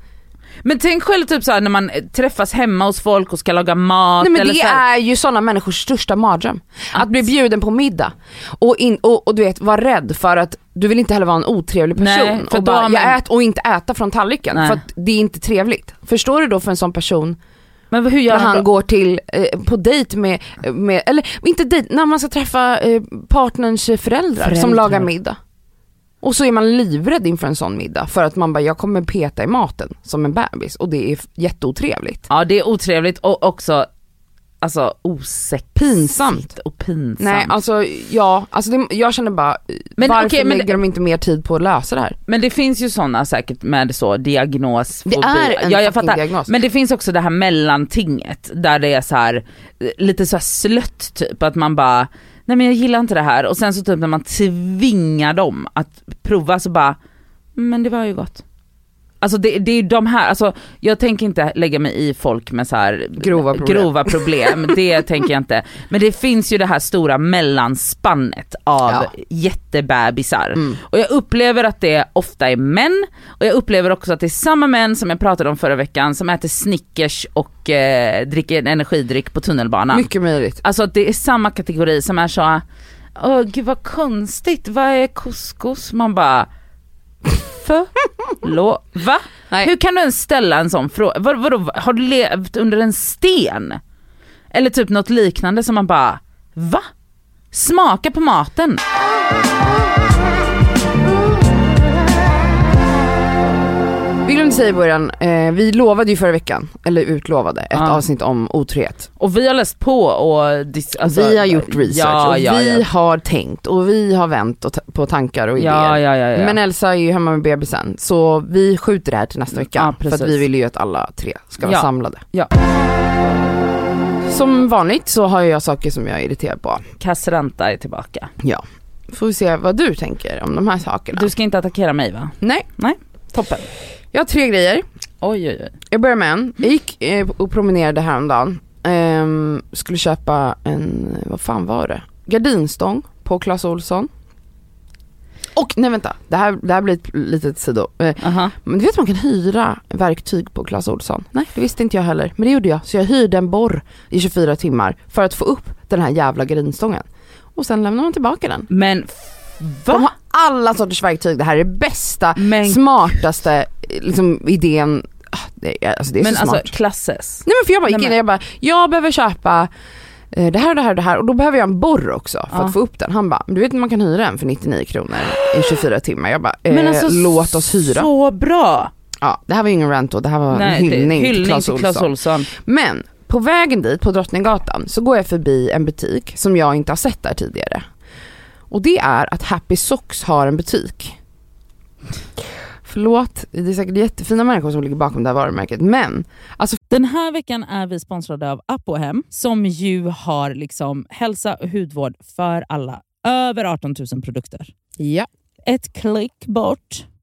C: Men tänk själv typ såhär när man eh, träffas hemma hos folk och ska laga mat
B: Nej men
C: eller
B: det
C: så här,
B: är ju sådana människors största mardröm. Att bli bjuden på middag och, in, och, och du vet vara rädd för att du vill inte heller vara en otrevlig person
C: Nej, för
B: och,
C: då
B: bara,
C: har man-
B: jag ät, och inte äta från tallriken
C: Nej.
B: för att det är inte trevligt. Förstår du då för en sån person
C: Men hur gör
B: när han
C: han då?
B: går till, eh, på dejt med, med, eller inte dejt, när man ska träffa eh, partnerns eh, föräldrar, som
C: Föräldrar.
B: lagar middag. Och så är man livrädd inför en sån middag för att man bara, jag kommer peta i maten som en bebis och det är f- jätteotrevligt.
C: Ja det är otrevligt och också alltså osexigt
B: Pinsamt.
C: och pinsamt.
B: Nej alltså ja, alltså det, jag känner bara
C: Men
B: varför
C: okej, men-
B: lägger de inte mer tid på att lösa det här?
C: Men det finns ju sådana säkert med så diagnos,
B: Det
C: fobi.
B: är en
C: ja, jag
B: fucking
C: fattar.
B: diagnos.
C: Men det finns också det här mellantinget där det är så här eh, lite så här slött typ att man bara nej men jag gillar inte det här och sen så typ när man tvingar dem att prova så bara men det var ju gott. Alltså det, det är ju de här, alltså jag tänker inte lägga mig i folk med så här
B: Grova problem.
C: grova problem, det tänker jag inte. Men det finns ju det här stora mellanspannet av
B: Ja.
C: jättebebisar. Och jag upplever att det ofta är män och jag upplever också att det är samma män som jag pratade om förra veckan som äter Snickers och eh, dricker en energidryck på tunnelbanan.
B: Mycket möjligt.
C: Alltså att det är samma kategori som är så,
D: åh gud vad konstigt, vad är couscous? Man bara, förlåt, va?
E: Nej.
D: Hur kan du ens ställa en sån fråga? Vad, vadå, har du levt under en sten? Eller typ något liknande som man bara, va? Smaka på maten.
E: Vi glömde säga i början, eh, vi lovade ju förra veckan, eller utlovade, ett
D: Ja.
E: avsnitt om otrohet.
D: Och vi har läst på och... dis- alltså-
E: vi har gjort research
D: ja,
E: och
D: ja,
E: vi
D: ja.
E: har tänkt och vi har vänt och ta- på tankar och idéer.
D: Ja, ja, ja, ja.
E: Men Elsa är ju hemma med bebisen så vi skjuter det här till nästa vecka
D: Mm. Ja,
E: för att
D: precis.
E: vi vill ju att alla tre ska vara
D: Ja.
E: samlade.
D: Ja.
E: Som vanligt så har jag saker som jag är irriterad på.
D: Kassranta är tillbaka.
E: Ja. Får vi se vad du tänker om de här sakerna.
D: Du ska inte attackera mig va?
E: Nej,
D: Toppen.
E: jag har tre grejer.
D: Oj oj oj.
E: Jag börjar med
D: Mm.
E: en. Jag gick eh, och promenerade häromdagen. Ehm, skulle köpa en, vad fan var det? Gardinstång på Clas Ohlson. Och nej vänta, det här, det här blir ett litet sido. Eh,
D: Aha.
E: men du vet att man kan hyra verktyg på Clas Ohlson? Nej det visste inte jag heller, men det gjorde jag. Så jag hyrde en borr i 24 timmar för att få upp den här jävla gardinstången. Och sen lämnar man tillbaka den.
D: Men
E: De
D: va?
E: har alla sorters verktyg, det här är det bästa,
D: Men-
E: smartaste eh, liksom, idén. Ah, det är- Alltså det är
D: Men
E: så smart.
D: alltså klasses.
E: Nej men för jag bara gick
D: Nej,
E: in
D: men-
E: och jag bara, jag behöver köpa eh, det här och det här och det här och då behöver jag en borr också för
D: Ja.
E: att få upp den. Han bara, men du vet att man kan hyra en för 99 kronor i 24 timmar. Jag bara, eh,
D: Men alltså
E: låt oss hyra.
D: Så bra.
E: Ja, det här var ju ingen rant då, det här var en
D: det-
E: hyllning, till
D: hyllning
E: Clas
D: till Clas
E: Ohlson.
D: Ohlson.
E: Men på vägen dit på Drottninggatan så går jag förbi en butik som jag inte har sett där tidigare. Och det är att Happy Socks har en butik. Förlåt, det är säkert jättefina människor som ligger bakom det här varumärket men alltså
C: Den här veckan är vi sponsrade av Apohem som ju har liksom hälsa och hudvård för alla. Över 18 000 produkter.
E: ja.
C: Ett klick bort.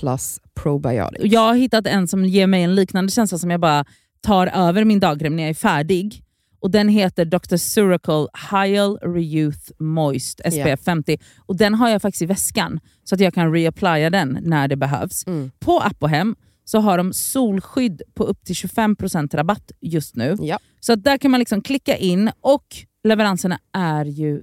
B: Plus Probiotics.
C: Jag har hittat en som ger mig en liknande känsla som jag bara tar över min dagkräm när jag är färdig. Och Den heter Dr. Suracle Hyal Reyouth Moist SPF
B: Ja.
C: 50. Och Den har jag faktiskt i väskan så att jag kan reapplya den när det behövs.
B: Mm.
C: På app och hem så har de solskydd på upp till 25% rabatt just nu.
B: Ja.
C: Så att där kan man liksom klicka in och leveranserna är ju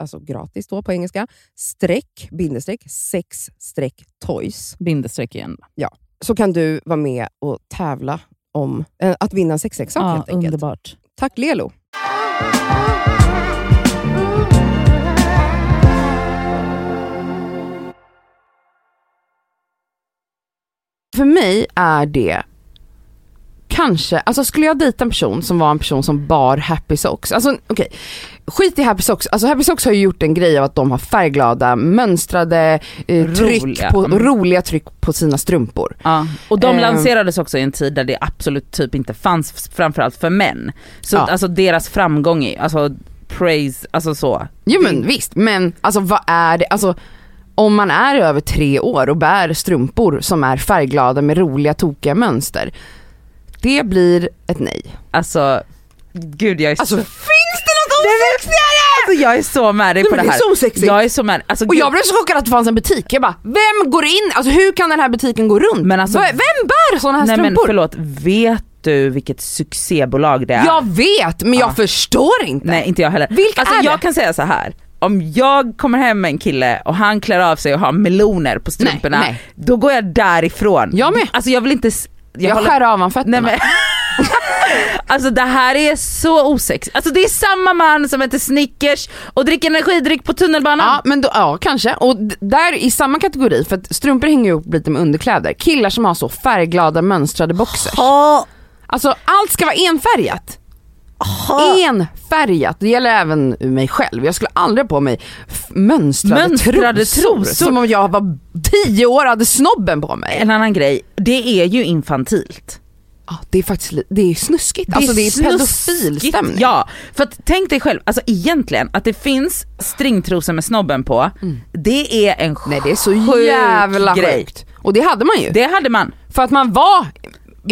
F: alltså gratis då på engelska, streck, bindestreck, sex streck toys.
A: Bindestreck igen.
F: Så kan du vara med och tävla om eh, att vinna en sexleksak
A: Ja,
F: helt enkelt.
A: underbart.
F: Tack Lelo!
B: För mig är det kanske, alltså skulle jag dejta en person som var en person som bar Happy Socks, alltså okej, skit i Happy Socks, alltså Happy Socks har ju gjort en grej av att de har färgglada, mönstrade eh, tryck
C: Roliga.
B: på,
C: Mm.
B: roliga tryck på sina strumpor.
C: Ja. Och de
B: Eh.
C: lanserades också i en tid där det absolut typ inte fanns, f- framförallt för män. Så
B: Ja.
C: att, alltså deras framgång är, alltså praise, alltså så.
B: Jo men visst, men alltså vad är det, alltså om man är över tre år och bär strumpor som är färgglada med roliga tokiga mönster, det blir ett nej.
C: Alltså, gud jag är
B: Alltså
C: så...
B: finns det något osexigare?
C: Alltså jag är så med dig
B: Nej,
C: på
B: men det
C: det
B: är
C: här.
B: så osexigt.
C: Jag är så med dig. Alltså,
B: Och
C: gud.
B: jag blev så chockad att det fanns en butik, jag bara vem går in, alltså hur kan den här butiken gå runt?
C: Men alltså-
B: V- vem bär sådana här
C: Nej men
B: strumpor?
C: förlåt, vet du vilket succébolag det är?
B: jag vet men jag
C: Ja.
B: förstår inte.
C: Nej inte jag heller.
B: Vilka
C: alltså,
B: är
C: jag
B: det?
C: kan säga så här. om jag kommer hem med en kille och han klär av sig och har meloner på strumporna,
B: Nej, nej.
C: då går jag därifrån.
B: Jag med.
C: Alltså jag vill inte... s-
B: jag
C: håller-
B: skär av han fötterna.
C: Nej, men... alltså det här är så osexigt. Alltså det är samma man som äter Snickers och dricker energidryck på tunnelbanan.
B: Ja men då, ja kanske, och d- där i samma kategori för att strumpor hänger ju ihop lite med underkläder, killar som har så färgglada mönstrade boxers.
C: Ja.
B: Alltså allt ska vara enfärgat. Enfärgat, det gäller även mig själv. Jag skulle aldrig ha på mig f- mönstrade,
C: Mönstrade
B: trosor,
C: trosor.
B: Som om jag var tio år och hade snobben på mig.
C: En annan grej, det är ju infantilt.
B: Ja, det är faktiskt li- det är snuskigt, alltså det är pedofil
C: snuskigt.
B: stämning.
C: Ja, för att tänk dig själv, alltså egentligen att det finns stringtrosor med snobben på, Mm. det är en sjuk
B: Nej det är så jävla
C: grej.
B: sjukt. Och det hade man ju.
C: Det hade man.
B: För att man var,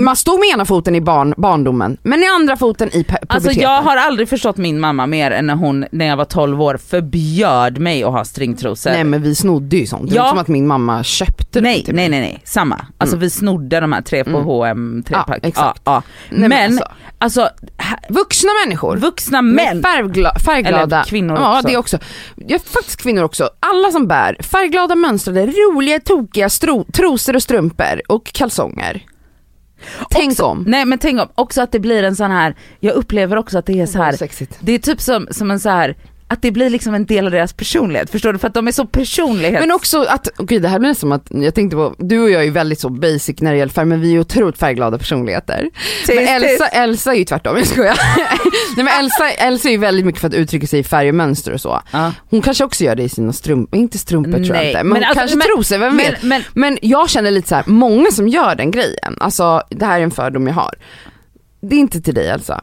B: man stod med ena foten i barn, barndomen men i andra foten i pe-
C: Alltså
B: puberteten.
C: jag har aldrig förstått min mamma mer än när hon, när jag var 12 år, förbjöd mig att ha stringtrosor.
B: Nej men vi snodde ju sånt, det var
C: Ja.
B: inte som att min mamma köpte
C: nej,
B: det Typ till
C: nej,
B: mig. Mm.
C: nej, nej, samma. Alltså vi snodde de här tre på H&M tre
B: Ja,
C: pack.
B: exakt.
C: Ja, ja.
B: Nej, men
C: men alltså,
B: alltså.
C: här-
B: Vuxna människor.
C: vuxna
B: Med
C: män,
B: färgla, färgglada.
C: Eller kvinnor
B: ja,
C: också.
B: det också. Ja, faktiskt kvinnor också. Alla som bär färgglada mönstrade, roliga, tokiga stro- trosor och strumpor och kalsonger. Tänk
C: också,
B: om.
C: Nej men tänk om, också att det blir en sån här, jag upplever också att det är så här,
B: Sexigt.
C: det är typ som, som en så här att det blir liksom en del av deras personlighet, förstår du? För att de är så personlighet.
B: Men också att, och gud det här blir som att, jag tänkte på, du och jag är ju väldigt så basic när det gäller färg men vi är ju otroligt färgglada personligheter.
C: Tis,
B: Men
C: tis.
B: Elsa, Elsa är ju tvärtom, jag skojar. Nej men Elsa, Elsa är ju väldigt mycket för att uttrycka sig i färg och mönster och så.
C: Ja.
B: Hon kanske också gör det i sina strumpor, inte strumpor tror jag
C: Nej,
B: inte, men,
C: men
B: hon
C: alltså,
B: kanske
C: men-
B: trosor, vem
C: men,
B: vet.
C: men
B: Men jag känner lite så här: många som gör den grejen, alltså det här är en fördom jag har. Det är inte till dig Elsa,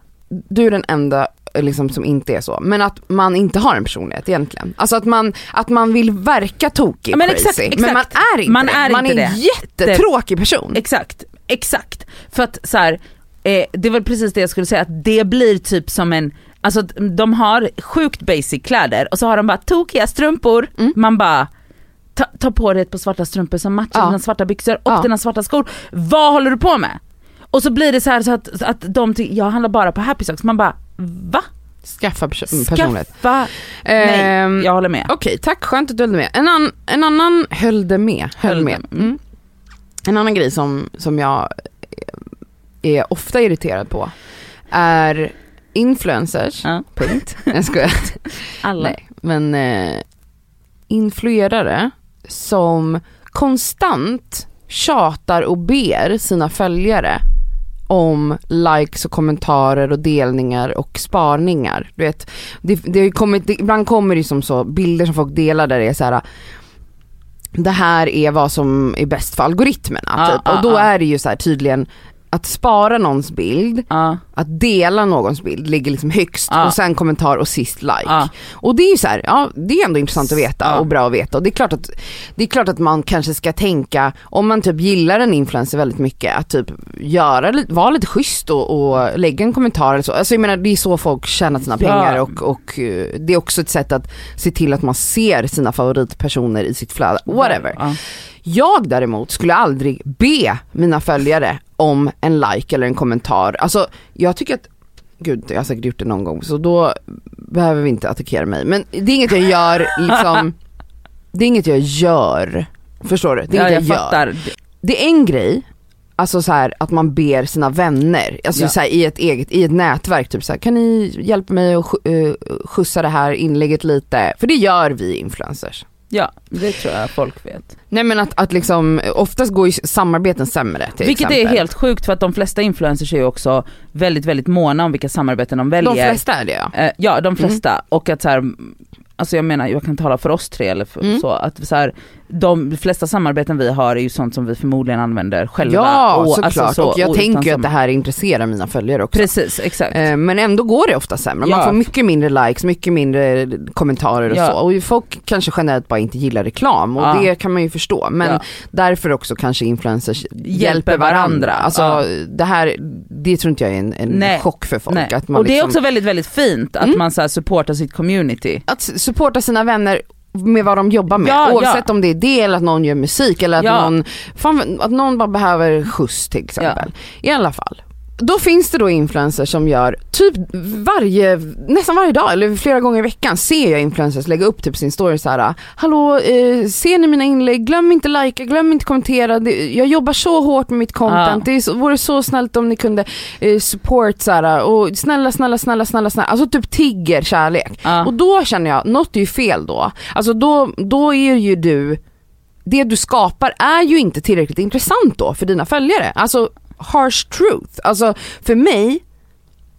B: du är den enda eh, liksom, som inte är så. Men att man inte har en personlighet egentligen. Alltså att man, att man vill verka tokig
C: Ja, men
B: crazy,
C: exakt, exakt.
B: men man är inte
C: Man
B: det.
C: är
B: man
C: inte
B: är en
C: det.
B: jättetråkig person.
C: Exakt, exakt. För att så här, eh, det var precis det jag skulle säga, att det blir typ som en, alltså att de har sjukt basic kläder och så har de bara tokiga strumpor,
B: Mm.
C: man bara ta, ta på dig ett par svarta strumpor som matchar
B: Ja.
C: dina svarta byxor och
B: Ja.
C: dina svarta skor. Vad håller du på med? Och så blir det så här så att, så att de tycker, jag handlar bara på happy socks, man bara va?
B: Skaffa perso- personlighet.
C: Skaffa,
B: Ehm,
C: nej jag håller med.
B: Okej, tack. Skönt att du höll med. En, an, en annan höll det med. Höll
C: Höll
B: med.
C: det med. Mm.
B: En annan grej som, som jag eh, är ofta irriterad på är influencers.
C: Ja.
B: Punkt. Jag skojar.
C: Alla.
B: Nej, men eh, influerare som konstant tjatar och ber sina följare om likes och kommentarer och delningar och sparningar. Du vet, det, det har ju kommit, det, ibland kommer det som så bilder som folk delar där det är så här det här är vad som är bäst för algoritmerna.
C: Ja,
B: typ.
C: ja,
B: och då
C: ja.
B: är det ju så här tydligen att spara någons bild,
C: Ja.
B: att dela någons bild ligger liksom högst
C: Ja.
B: och sen kommentar och sist like.
C: Ja.
B: Och det är ju så här, ja det är ändå intressant att veta
C: Ja.
B: och bra att veta och det är, klart att, det är klart att man kanske ska tänka, om man typ gillar en influencer väldigt mycket, att typ göra, li- vara lite schysst och, och lägga en kommentar eller så. Alltså jag menar det är så folk tjänar sina
C: Ja.
B: pengar och, och eh, det är också ett sätt att se till att man ser sina favoritpersoner i sitt flöde, whatever.
C: Ja.
B: Jag däremot skulle aldrig be mina följare om en like eller en kommentar. Alltså jag tycker att, gud jag har säkert gjort det någon gång så då behöver vi inte attackera mig. Men det är inget jag gör liksom, det är inget jag gör. Förstår du? Det är
C: Ja,
B: inget jag,
C: jag
B: gör.
C: fattar.
B: Det är en grej, alltså så här, att man ber sina vänner, alltså
C: Ja.
B: så här, i, ett eget, i ett nätverk, typ så här, kan ni hjälpa mig att sk- eh, skjutsa det här inlägget lite? För det gör vi influencers.
C: Ja, det tror jag folk vet.
B: Nej men att, att liksom, oftast går ju samarbeten sämre till
C: Vilket
B: exempel.
C: är helt sjukt för att de flesta influencers är ju också väldigt, väldigt måna om vilka samarbeten de väljer.
B: De flesta Mm. är det ja.
C: Eh, ja, de flesta. Och att så här, alltså jag menar, jag kan tala för oss tre eller för,
B: Mm.
C: så, att så här, de flesta samarbeten vi har är ju sånt som vi förmodligen använder själva.
B: Ja
C: alltså
B: såklart
C: så,
B: och jag
C: utan
B: tänker ju
C: sam-
B: att det här intresserar mina följare också.
C: Precis, exakt.
B: Eh, Men ändå går det ofta sämre. Man
C: Ja.
B: får mycket mindre likes, mycket mindre kommentarer och
C: Ja.
B: så. Och folk kanske generellt bara inte gillar reklam och
C: Ja.
B: det kan man ju förstå. Men
C: Ja.
B: därför också kanske influencers hjälper varandra.
C: varandra.
B: Alltså
C: Ja.
B: det här, det tror inte jag är en, en
C: Nej.
B: chock för folk.
C: Nej.
B: Att man
C: och det
B: liksom,
C: är också väldigt, väldigt fint att
B: Mm.
C: man så här supportar sitt community.
B: att supporta sina vänner med vad de jobbar med.
C: Ja,
B: Oavsett om det är det eller att någon gör musik eller att,
C: Ja.
B: någon, fan, att någon bara behöver skjuts till exempel. I alla fall. Då finns det då influencers som gör typ varje, nästan varje dag eller flera gånger i veckan ser jag influencers lägga upp typ sin story så här. Hallå, eh, ser ni mina inlägg? Glöm inte likea, glöm inte kommentera. Det, jag jobbar så hårt med mitt content. Det är så, vore så snällt om ni kunde eh, support så här. Och snälla, snälla, snälla, snälla, snälla. Alltså typ tigger kärlek.
C: Ja.
B: Och då känner jag, något är ju fel då. Alltså då, då är ju du, det du skapar är ju inte tillräckligt intressant då för dina följare. Alltså harsh truth. Alltså för mig,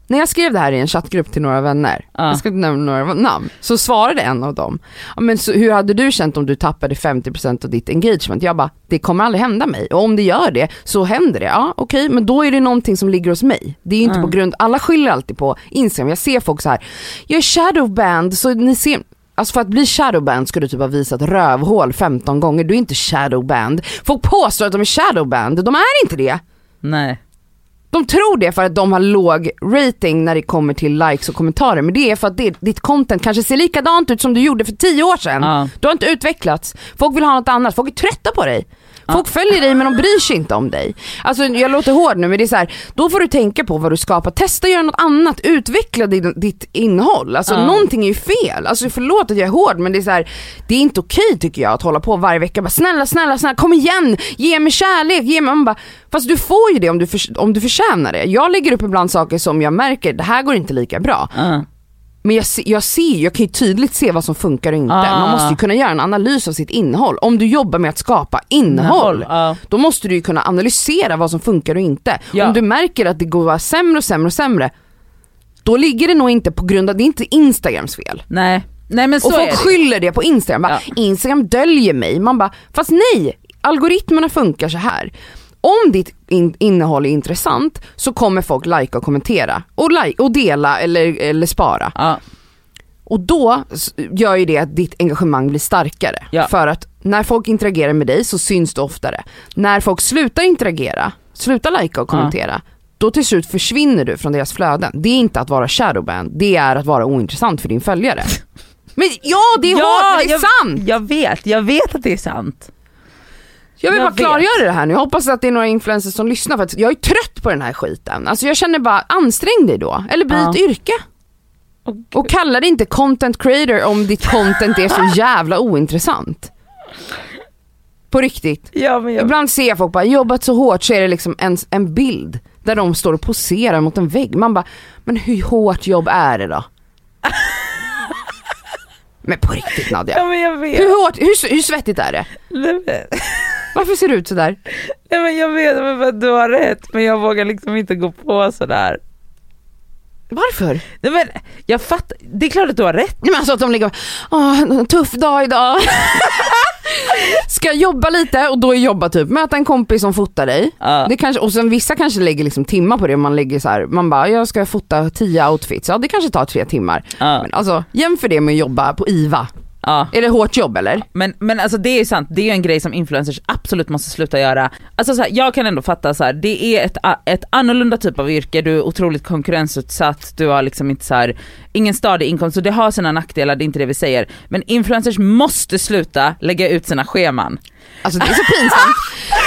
B: när jag skrev det här i en chattgrupp till några vänner,
C: Ja.
B: jag ska inte nämna några namn, så svarade en av dem, "Ja, men så, hur hade du känt om du tappade 50% av ditt engagement? Jag bara, det kommer aldrig hända mig. Och om det gör det så händer det. Ja okej, men då är det någonting som ligger hos mig. Det är ju inte
C: Mm.
B: på grund, alla skyller alltid på Instagram. Jag ser folk så här, jag är shadowband så ni ser Alltså för att bli shadowband ska du typ ha visat rövhål 15 gånger, du är inte shadowband. Folk påstår att de är shadowband, de är inte det.
C: Nej.
B: De tror det för att de har låg rating när det kommer till likes och kommentarer men det är för att det, ditt content kanske ser likadant ut som du gjorde för 10 år sedan.
C: Ja.
B: Du har inte utvecklats, folk vill ha något annat, folk är trötta på dig. Folk följer dig men de bryr sig inte om dig. Alltså jag låter hård nu men det är så här, då får du tänka på vad du skapar, testa att göra något annat, utveckla din, ditt innehåll. Alltså
C: Ja.
B: någonting är ju fel, alltså förlåt att jag är hård men det är så här, det är inte okej tycker jag att hålla på varje vecka bara snälla snälla snälla kom igen, ge mig kärlek, ge mig, man bara, fast du får ju det om du, för, om du förtjänar det. Jag lägger upp ibland saker som jag märker, det här går inte lika bra.
C: Ja.
B: Men jag, se- jag ser jag kan ju tydligt se vad som funkar och inte.
C: Ah.
B: Man måste ju kunna göra en analys av sitt innehåll. Om du jobbar med att skapa innehåll,
C: Ja.
B: då måste du ju kunna analysera vad som funkar och inte.
C: Ja.
B: Om du märker att det går bara sämre och sämre och sämre, då ligger det nog inte på grund av, det är inte Instagrams fel.
C: Nej. Nej men så
B: och
C: är
B: folk
C: det.
B: skyller det på Instagram, bara, Instagram döljer mig. Man bara, fast nej, algoritmerna funkar så här. Om ditt in- innehåll är intressant så kommer folk likea och kommentera och, like, och dela eller, eller spara.
C: Ja.
B: Och då s- gör ju det att ditt engagemang blir starkare.
C: Ja.
B: För att när folk interagerar med dig så syns du oftare. När folk slutar interagera, slutar likea och kommentera, då till slut försvinner du från deras flöden. Det är inte att vara shadowban, det är att vara ointressant för din följare. Men ja, det är hårt men det är
C: jag,
B: sant!
C: Jag vet, jag vet att det är sant.
B: Jag vill
C: jag
B: bara
C: vet.
B: klargöra det här nu, jag hoppas att det är några influencers som lyssnar för att jag är trött på den här skiten. Alltså jag känner bara, ansträng dig då, eller byt
C: Ja.
B: yrke. Och kalla det inte content creator om ditt content är så jävla ointressant. På riktigt.
C: Ja, men jag,
B: Ibland ser jag folk bara, jobbat så hårt så är det liksom en, en bild där de står och poserar mot en vägg. Man bara, men hur hårt jobb är det då? men på riktigt Nadja.
C: ja, men jag vet.
B: Hur hårt, hur, hur svettigt är det?
C: Nej, men-
B: Varför ser du ut sådär?
C: Nej men jag vet men vad du har rätt men jag vågar liksom inte gå på sådär.
B: Varför?
C: Nej men jag fattar, det är klart att du har rätt.
B: Nej men alltså att de ligger och bara, Åh, tuff dag idag. Ska jobba lite och då är jobba typ, möta en kompis som fotar dig.
C: Ja.
B: Det kanske, och sen vissa kanske lägger liksom timmar på det, man lägger så här, man bara jag ska fota tio outfits, ja det kanske tar tre timmar.
C: Ja.
B: Men alltså jämför det med att jobba på IVA.
C: Ja.
B: Är det hårt jobb eller?
C: Men, men alltså det är ju sant, det är ju en grej som influencers absolut måste sluta göra. Alltså så här, jag kan ändå fatta så här, det är ett, a- ett annorlunda typ av yrke, du är otroligt konkurrensutsatt, du har liksom inte så här, ingen stadig inkomst, så det har sina nackdelar, det är inte det vi säger. Men influencers måste sluta lägga ut sina scheman.
B: Alltså det är så pinsamt.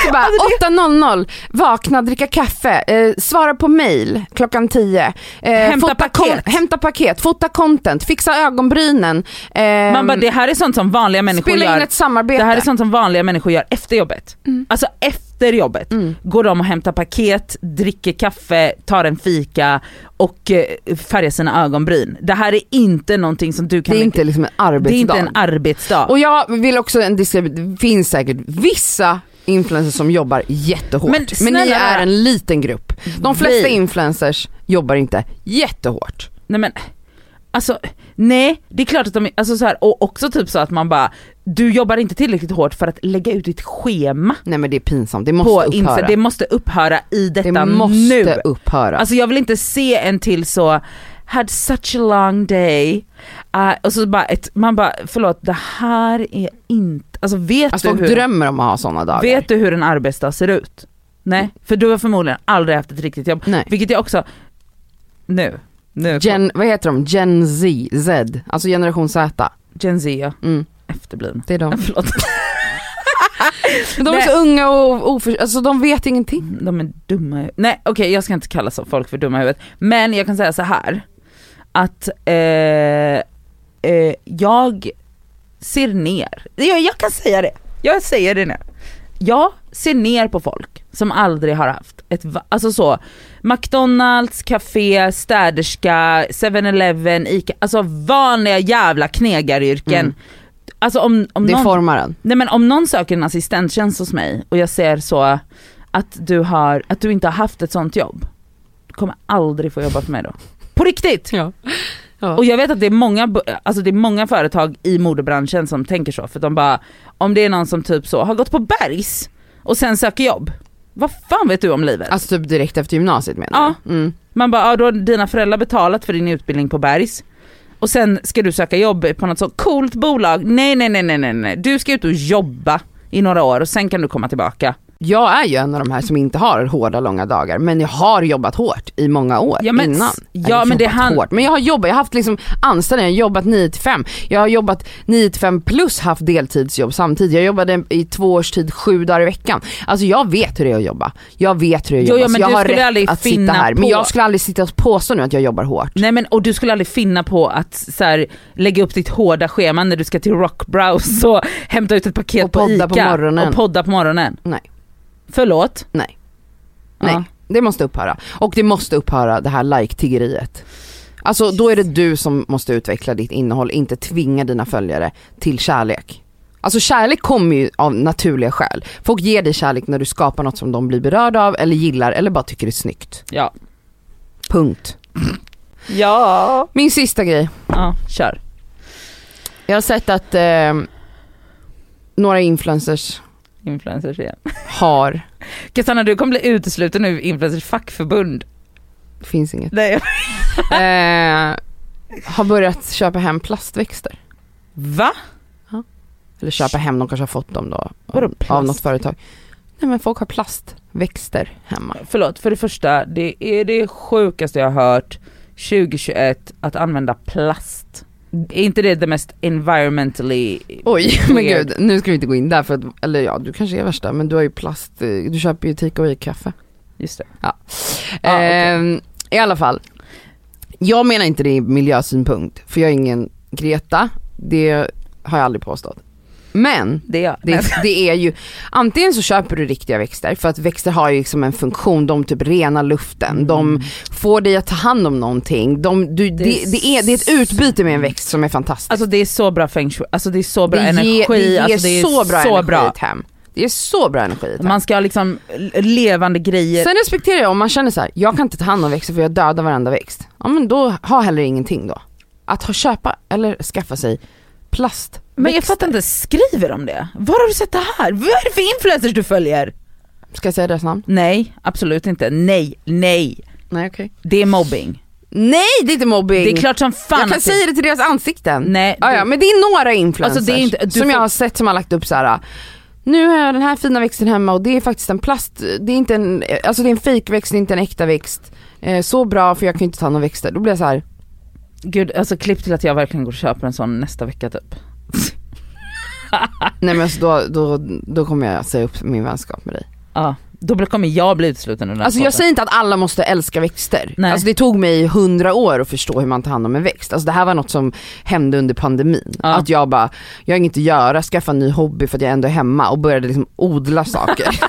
B: Så bara,
C: Alltså,
B: 8.00, vakna, dricka kaffe, eh, svara på mail klockan 10. Eh,
C: Hämta
B: fota
C: paket.
B: kon- hämta paket, fota content, fixa ögonbrynen. Eh,
C: Man bara, det här är sånt som vanliga människor
B: spela in
C: gör.
B: ett samarbete.
C: Det här är sånt som vanliga människor gör efter jobbet.
B: Mm.
C: Alltså efter jobbet går de och hämtar paket, dricker kaffe, tar en fika och eh, färgar sina ögonbryn. Det här är inte någonting som du kan...
B: det är inte liksom en
C: det är
B: arbetsdag.
C: inte en arbetsdag.
B: Och jag vill också en diskrimi- det finns säkert vissa influencers som jobbar jättehårt. Men,
C: Men
B: ni
C: snälla
B: är
C: rara.
B: en liten grupp. De flesta
C: Vi-
B: influencers jobbar inte jättehårt.
C: Nej men, alltså nej, det är klart att de, alltså så här, och också typ så att man bara, du jobbar inte tillräckligt hårt för att lägga ut ditt schema
B: Nej men det är pinsamt, det måste
C: på
B: upphöra.
C: Insta. Det måste upphöra i detta
B: det måste
C: nu.
B: upphöra.
C: Alltså jag vill inte se en till så had such a long day. Uh, och så bara ett, man bara förlåt det här är inte, alltså vet
B: Alltså
C: du
B: folk
C: hur,
B: drömmer om att ha sådana dagar.
C: vet du hur en arbetsdag ser ut? Nej, för du har förmodligen aldrig haft ett riktigt jobb.
B: Mm. Nej.
C: Vilket jag också, nu, nu,
B: Gen, vad heter de? Gen Z, Z, alltså generation Z.
C: Gen Z ja,
B: Mm,
C: efterblivna.
B: det är de.
C: Förlåt,
B: Men de är så unga och oför, alltså de vet ingenting.
C: de är dumma i- Nej okej jag ska inte kalla så folk för dumma i huvudet. Men jag kan säga så här att eh, eh, jag ser ner. Jag, jag kan säga det. Jag säger det nu. Jag ser ner på folk som aldrig har haft ett, va- alltså så McDonalds, café, städerska, 7-Eleven, ICA, alltså vanliga jävla knegaryrken.
B: Mm.
C: Alltså om, om
B: Det
C: någon
B: formar en.
C: Nej men om någon söker en assistenttjänst hos mig och jag ser så att du, har, att du inte har haft ett sånt jobb, du kommer aldrig få jobba för mig då. På riktigt!
B: Ja. Ja.
C: Och jag vet att det är, många, bo- alltså det är många företag i modebranschen som tänker så, för de bara, om det är någon som typ så har gått på Bergs och sen söker jobb, vad fan vet du om livet?
B: Alltså typ direkt efter gymnasiet menar
C: Ja.
B: du? Mm.
C: Man bara, ja, då har dina föräldrar betalat för din utbildning på Bergs och sen ska du söka jobb på något så coolt bolag. Nej, nej, nej, nej, nej, nej. Du ska ut och jobba i några år och sen kan du komma tillbaka.
B: Jag är ju en av de här som inte har hårda långa dagar men jag har jobbat hårt i många år
C: Ja, men-
B: innan. liksom
C: ja, men det
B: jobbat
C: han-
B: hårt. Men jag har jobbat, jag har haft liksom anställningar, jag har jobbat 9 till 5. Jag har jobbat 9 till 5 plus haft deltidsjobb samtidigt. Jag jobbade i två års tid sju dagar i veckan. Alltså jag vet hur det är att jobba. Jag vet hur det är att
C: Jo,
B: jobba
C: jo, men
B: så jag
C: du
B: har
C: skulle aldrig
B: rätt att sitta
C: finna
B: här. Men
C: på-
B: jag skulle aldrig sitta och påstå nu att jag jobbar hårt.
C: Nej men och du skulle aldrig finna på att så här, lägga upp ditt hårda schema när du ska till Rockbrows och hämta ut ett paket
B: Och
C: på
B: podda
C: ICA
B: på morgonen.
C: och podda på morgonen.
B: Nej.
C: Förlåt?
B: Nej.
C: Ja.
B: Nej, det måste upphöra. Och det måste upphöra det här like-tiggeriet. Alltså då är det du som måste utveckla ditt innehåll, inte tvinga dina följare till kärlek. Alltså kärlek kommer ju av naturliga skäl. Folk ger dig kärlek när du skapar något som de blir berörda av eller gillar eller bara tycker är snyggt.
C: Ja.
B: Punkt.
C: Ja.
B: Min sista grej.
C: Ja, kör.
B: Jag har sett att eh, några influencers
C: Influencers igen.
B: har,
C: Cassandra du kommer bli utesluten nu influencers fackförbund.
B: det finns inget,
C: Nej.
B: eh, har börjat köpa hem plastväxter.
C: Va?
B: Eller köpa hem, de kanske har fått dem då.
C: Vadå
B: av- Av
C: plast?
B: något företag. Nej men folk har plastväxter hemma.
C: Förlåt, för det första, det är det sjukaste jag har hört 2021 att använda plast. Är inte det det mest environmentally...
B: Oj men
C: Weird.
B: gud, nu ska vi inte gå in där för att, eller ja du kanske är värsta men du har ju plast, eh, du köper ju take away kaffe.
C: Just det. Ah, okej.
B: Ehm, I alla fall, jag menar inte det i miljösynpunkt för jag är ingen Greta, det har jag aldrig påstått. Men
C: Det är jag.
B: Det, det är ju, antingen så köper du riktiga växter för att växter har ju liksom en funktion, de typ renar luften, de får dig att ta hand om någonting. De, du, det,
C: Mm. Det
B: det,
C: är
B: är, det är ett utbyte med en växt som är fantastiskt.
C: Alltså det är så bra feng shui, alltså det är så bra
B: det
C: energi,
B: ger, det ger
C: alltså det är
B: så bra energi i ett hem. Det är så bra energi i det här.
C: Man ska ha liksom l- levande grejer.
B: Sen respekterar jag om man känner så här, jag kan inte ta hand om växter för jag dödar varenda växt. Ja men då, ha heller ingenting då. Att ha, köpa eller skaffa sig plast.
C: men jag fattar inte, skriver de det? Var har du sett det här? Vad är det för influencers du följer?
B: Ska jag säga deras namn?
C: Nej, absolut inte. Nej, nej.
B: Nej okej.
C: Det är mobbing.
B: Nej det är inte mobbing!
C: Det är klart som fan
B: jag kan
C: att det-
B: säga det till deras ansikten.
C: Nej,
B: Ja, ja,
C: du-
B: men det är några influencers
C: Alltså, det är inte- du
B: som
C: får-
B: jag har sett som har lagt upp så här. "Ah, Nu har jag den här fina växten hemma och det är faktiskt en plast, det är inte en, alltså det är en fejkväxt, det är inte en äkta växt. Eh, så bra för jag kan ju inte ta hand om växter. Då blir jag så här.
C: Gud, alltså klipp till att jag verkligen går och köper en sån nästa vecka typ.
B: nej men alltså då, då, då kommer jag säga upp min vänskap med dig.
C: Ja, då blir- kommer jag bli utesluten ur den här
B: Alltså jag
C: podden.
B: säger inte att alla måste älska växter.
C: Nej.
B: Alltså det tog mig hundra år att förstå hur man tar hand om en växt. Alltså det här var något som hände under pandemin.
C: Ja.
B: Att jag bara, jag har inget att göra, skaffa en ny hobby för att jag ändå är hemma och började liksom odla saker.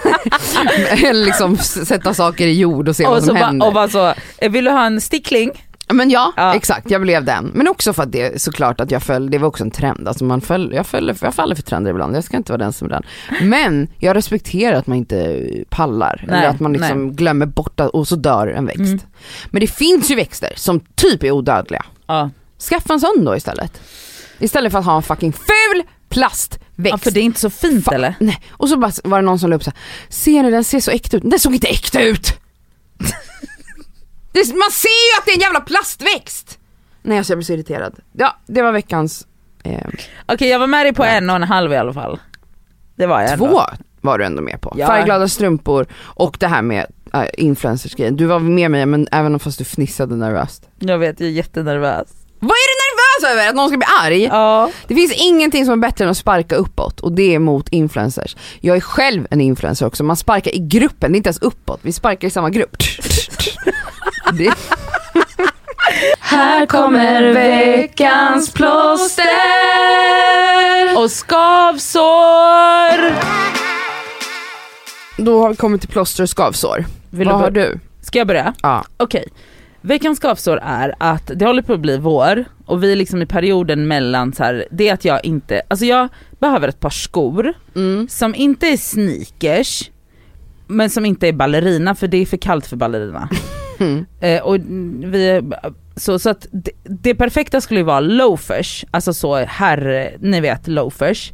B: Eller liksom s- sätta saker i jord och se vad
C: och så
B: som
C: bara,
B: händer.
C: och bara så, "Eh, vill du ha en stickling?
B: Men ja,
C: Ja.
B: exakt jag blev den. Men också för att det såklart att jag föll, det var också en trend. Alltså man föll, jag, föll, jag faller för trender ibland, jag ska inte vara den som är den. Men jag respekterar att man inte pallar
C: Nej,
B: eller att man liksom glömmer bort att, och så dör en växt.
C: Mm.
B: Men det finns ju växter som typ är odödliga.
C: Ja.
B: Skaffa en sån då istället. Istället för att ha en fucking ful plastväxt.
C: ja, för det är inte så fint
B: Fan.
C: eller?
B: Nej. Och så bara var det någon som la upp så här, ser ni den ser så äkta ut? Den såg inte äkta ut! det, är- man ser ju att det är en jävla plastväxt! Nej alltså jag blir så irriterad. Ja, det var veckans eh,
C: Okej jag var med dig på en och en halv i alla fall. Det var jag
B: två
C: ändå.
B: var du ändå med på.
C: Ja.
B: Färgglada strumpor och det här med äh, influencersgrejen. Du var med mig men även om fast du fnissade nervöst.
C: Jag vet, jag är jättenervös.
B: Vad är du nervös över? Att någon ska bli arg?
C: Ja.
B: Det finns ingenting som är bättre än att sparka uppåt och det är mot influencers. Jag är själv en influencer också, man sparkar i gruppen, det är inte ens uppåt, vi sparkar i samma grupp. Det,
A: Här kommer veckans plåster!
C: Och skavsår!
B: då har vi kommit till plåster och skavsår.
C: Vill
B: Vad
C: du
B: har
C: bör-
B: du?
C: Ska jag börja?
B: Ja.
C: Okej. Veckans skavsår är att det håller på att bli vår och vi är liksom i perioden mellan så här, det är att jag inte, alltså jag behöver ett par skor
B: Mm.
C: som inte är sneakers men som inte är ballerina för det är för kallt för ballerina.
B: Mm.
C: Eh, och mm, vi, så, så att det, det perfekta skulle ju vara loafers, alltså så herr, ni vet loafers.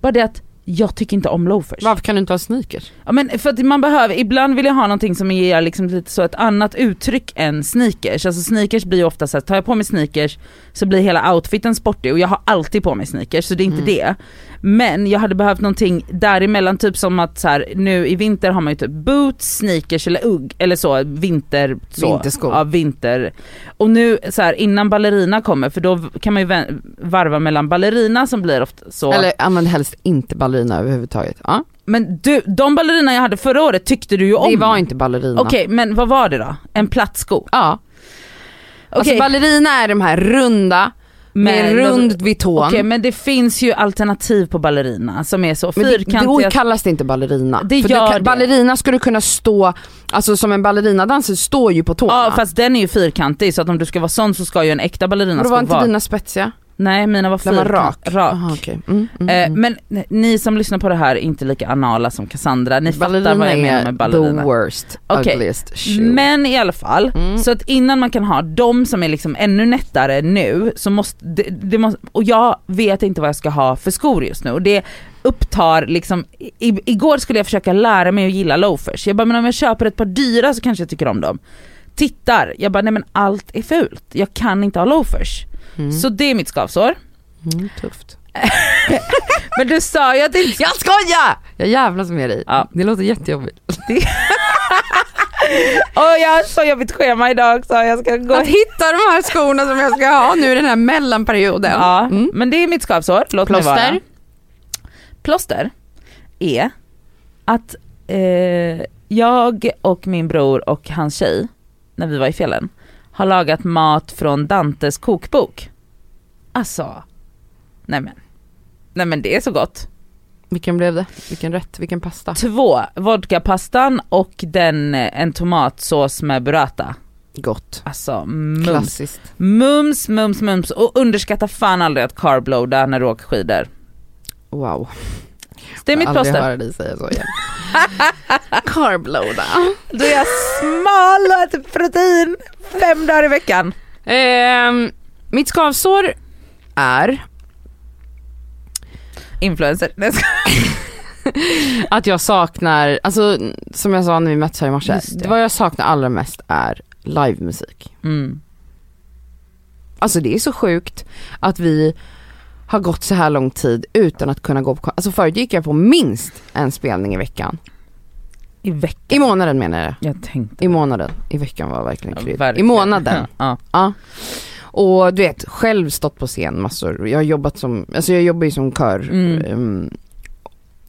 C: Bara det att jag tycker inte om loafers.
B: Varför kan du inte ha sneakers?
C: Ja men för att man behöver, ibland vill jag ha någonting som ger liksom lite så ett annat uttryck än sneakers. Alltså sneakers blir ju ofta så här, tar jag på mig sneakers så blir hela outfiten sportig och jag har alltid på mig sneakers så det är
B: Mm.
C: inte det. Men jag hade behövt någonting däremellan, typ som att så här, nu i vinter har man ju typ boots, sneakers eller ugg eller så, vinter, så.
B: Vinterskor.
C: Ja, vinter. Och nu så här, innan ballerina kommer, för då kan man ju vä- varva mellan ballerina som blir ofta så.
B: Eller använd helst inte ballerina överhuvudtaget. Ja.
C: Men du, de ballerina jag hade förra året tyckte du ju om.
B: Det var inte ballerina.
C: Okej men vad var det då? En plattsko?
B: Ja. Alltså
C: Okej.
B: ballerina är de här runda, med
C: Men-
B: rund vid tån.
C: Okej men det finns ju alternativ på ballerina som är så
B: Men det, då
C: fyrkantiga.
B: kallas det inte ballerina.
C: Det
B: För
C: gör
B: du
C: det.
B: kan, ballerina ska du kunna stå, alltså som en ballerinadanser står ju på tårna.
C: Ja fast den är ju fyrkantig så att om du ska vara sån så ska ju en äkta ballerina
B: Men då
C: ska
B: var inte
C: vara...
B: dina spetsiga?
C: Nej mina var
B: Den var
C: fyrkantiga.
B: rak? Aha, okej. Mm, mm,
C: Eh,
B: mm.
C: Men ni som lyssnar på det här är inte lika anala som Cassandra, ni fattar
B: ballerina
C: vad jag menar
B: är
C: med ballerina.
B: the worst,
C: Okej.
B: ugliest shoe.
C: Men i alla fall,
B: Mm.
C: så att innan man kan ha de som är liksom ännu nättare nu så måste, det, det måste och jag vet inte vad jag ska ha för skor just nu och det upptar liksom, i, igår skulle jag försöka lära mig att gilla loafers. Jag bara men om jag köper ett par dyra så kanske jag tycker om dem. Tittar, jag bara nej men allt är fult, jag kan inte ha loafers.
B: Mm,
C: Så det är mitt skavsår.
B: mm, tufft.
C: Men du sa ju att det inte
B: Jag skojar! Jag jävlas med dig.
C: Ja.
B: Det låter jättejobbigt.
C: Åh jag har så jobbigt schema idag så jag ska gå
B: Att hitta de här skorna som jag ska ha nu i den här mellanperioden.
C: Ja,
B: Mm.
C: men det är mitt skavsår. Låt mig
B: Plåster?
C: vara. Plåster är att eh, jag och min bror och hans tjej, när vi var i fjällen, har lagat mat från Dantes kokbok. Alltså, nej men. Nej men det är så gott.
B: Vilken blev det? Vilken rätt? Vilken pasta?
C: Två, vodkapastan och den, eh, en tomatsås med burrata.
B: Gott.
C: Alltså mums,
B: Klassiskt.
C: mums, mums, mums. Och underskatta fan aldrig att carbloada när du åker skidor.
B: Wow.
A: Det är mitt
B: aldrig
A: plåster.
B: höra dig säga så igen. Carblowda.
A: Då är jag smal och äter protein fem dagar i veckan.
B: Ehm, mitt skavsår är
A: Influencer. Nej, jag skojar.
B: att jag saknar, alltså som jag sa när vi möttes här i morse,
A: Just det.
B: vad jag saknar allra mest är livemusik.
A: Mm.
B: Alltså det är så sjukt att vi har gått så här lång tid utan att kunna gå på kon- Alltså förut gick jag på minst en spelning i veckan.
A: I veckan.
B: I månaden menar jag.
A: Jag tänkte.
B: I månaden. I veckan var verkligen
A: Ja,
B: kryddigt. I
A: verkligen.
B: månaden.
A: Ja.
B: Och du vet, själv stått på scen massor. Jag har jobbat som, alltså jag jobbar ju som kör.
A: Mm.
B: ehm,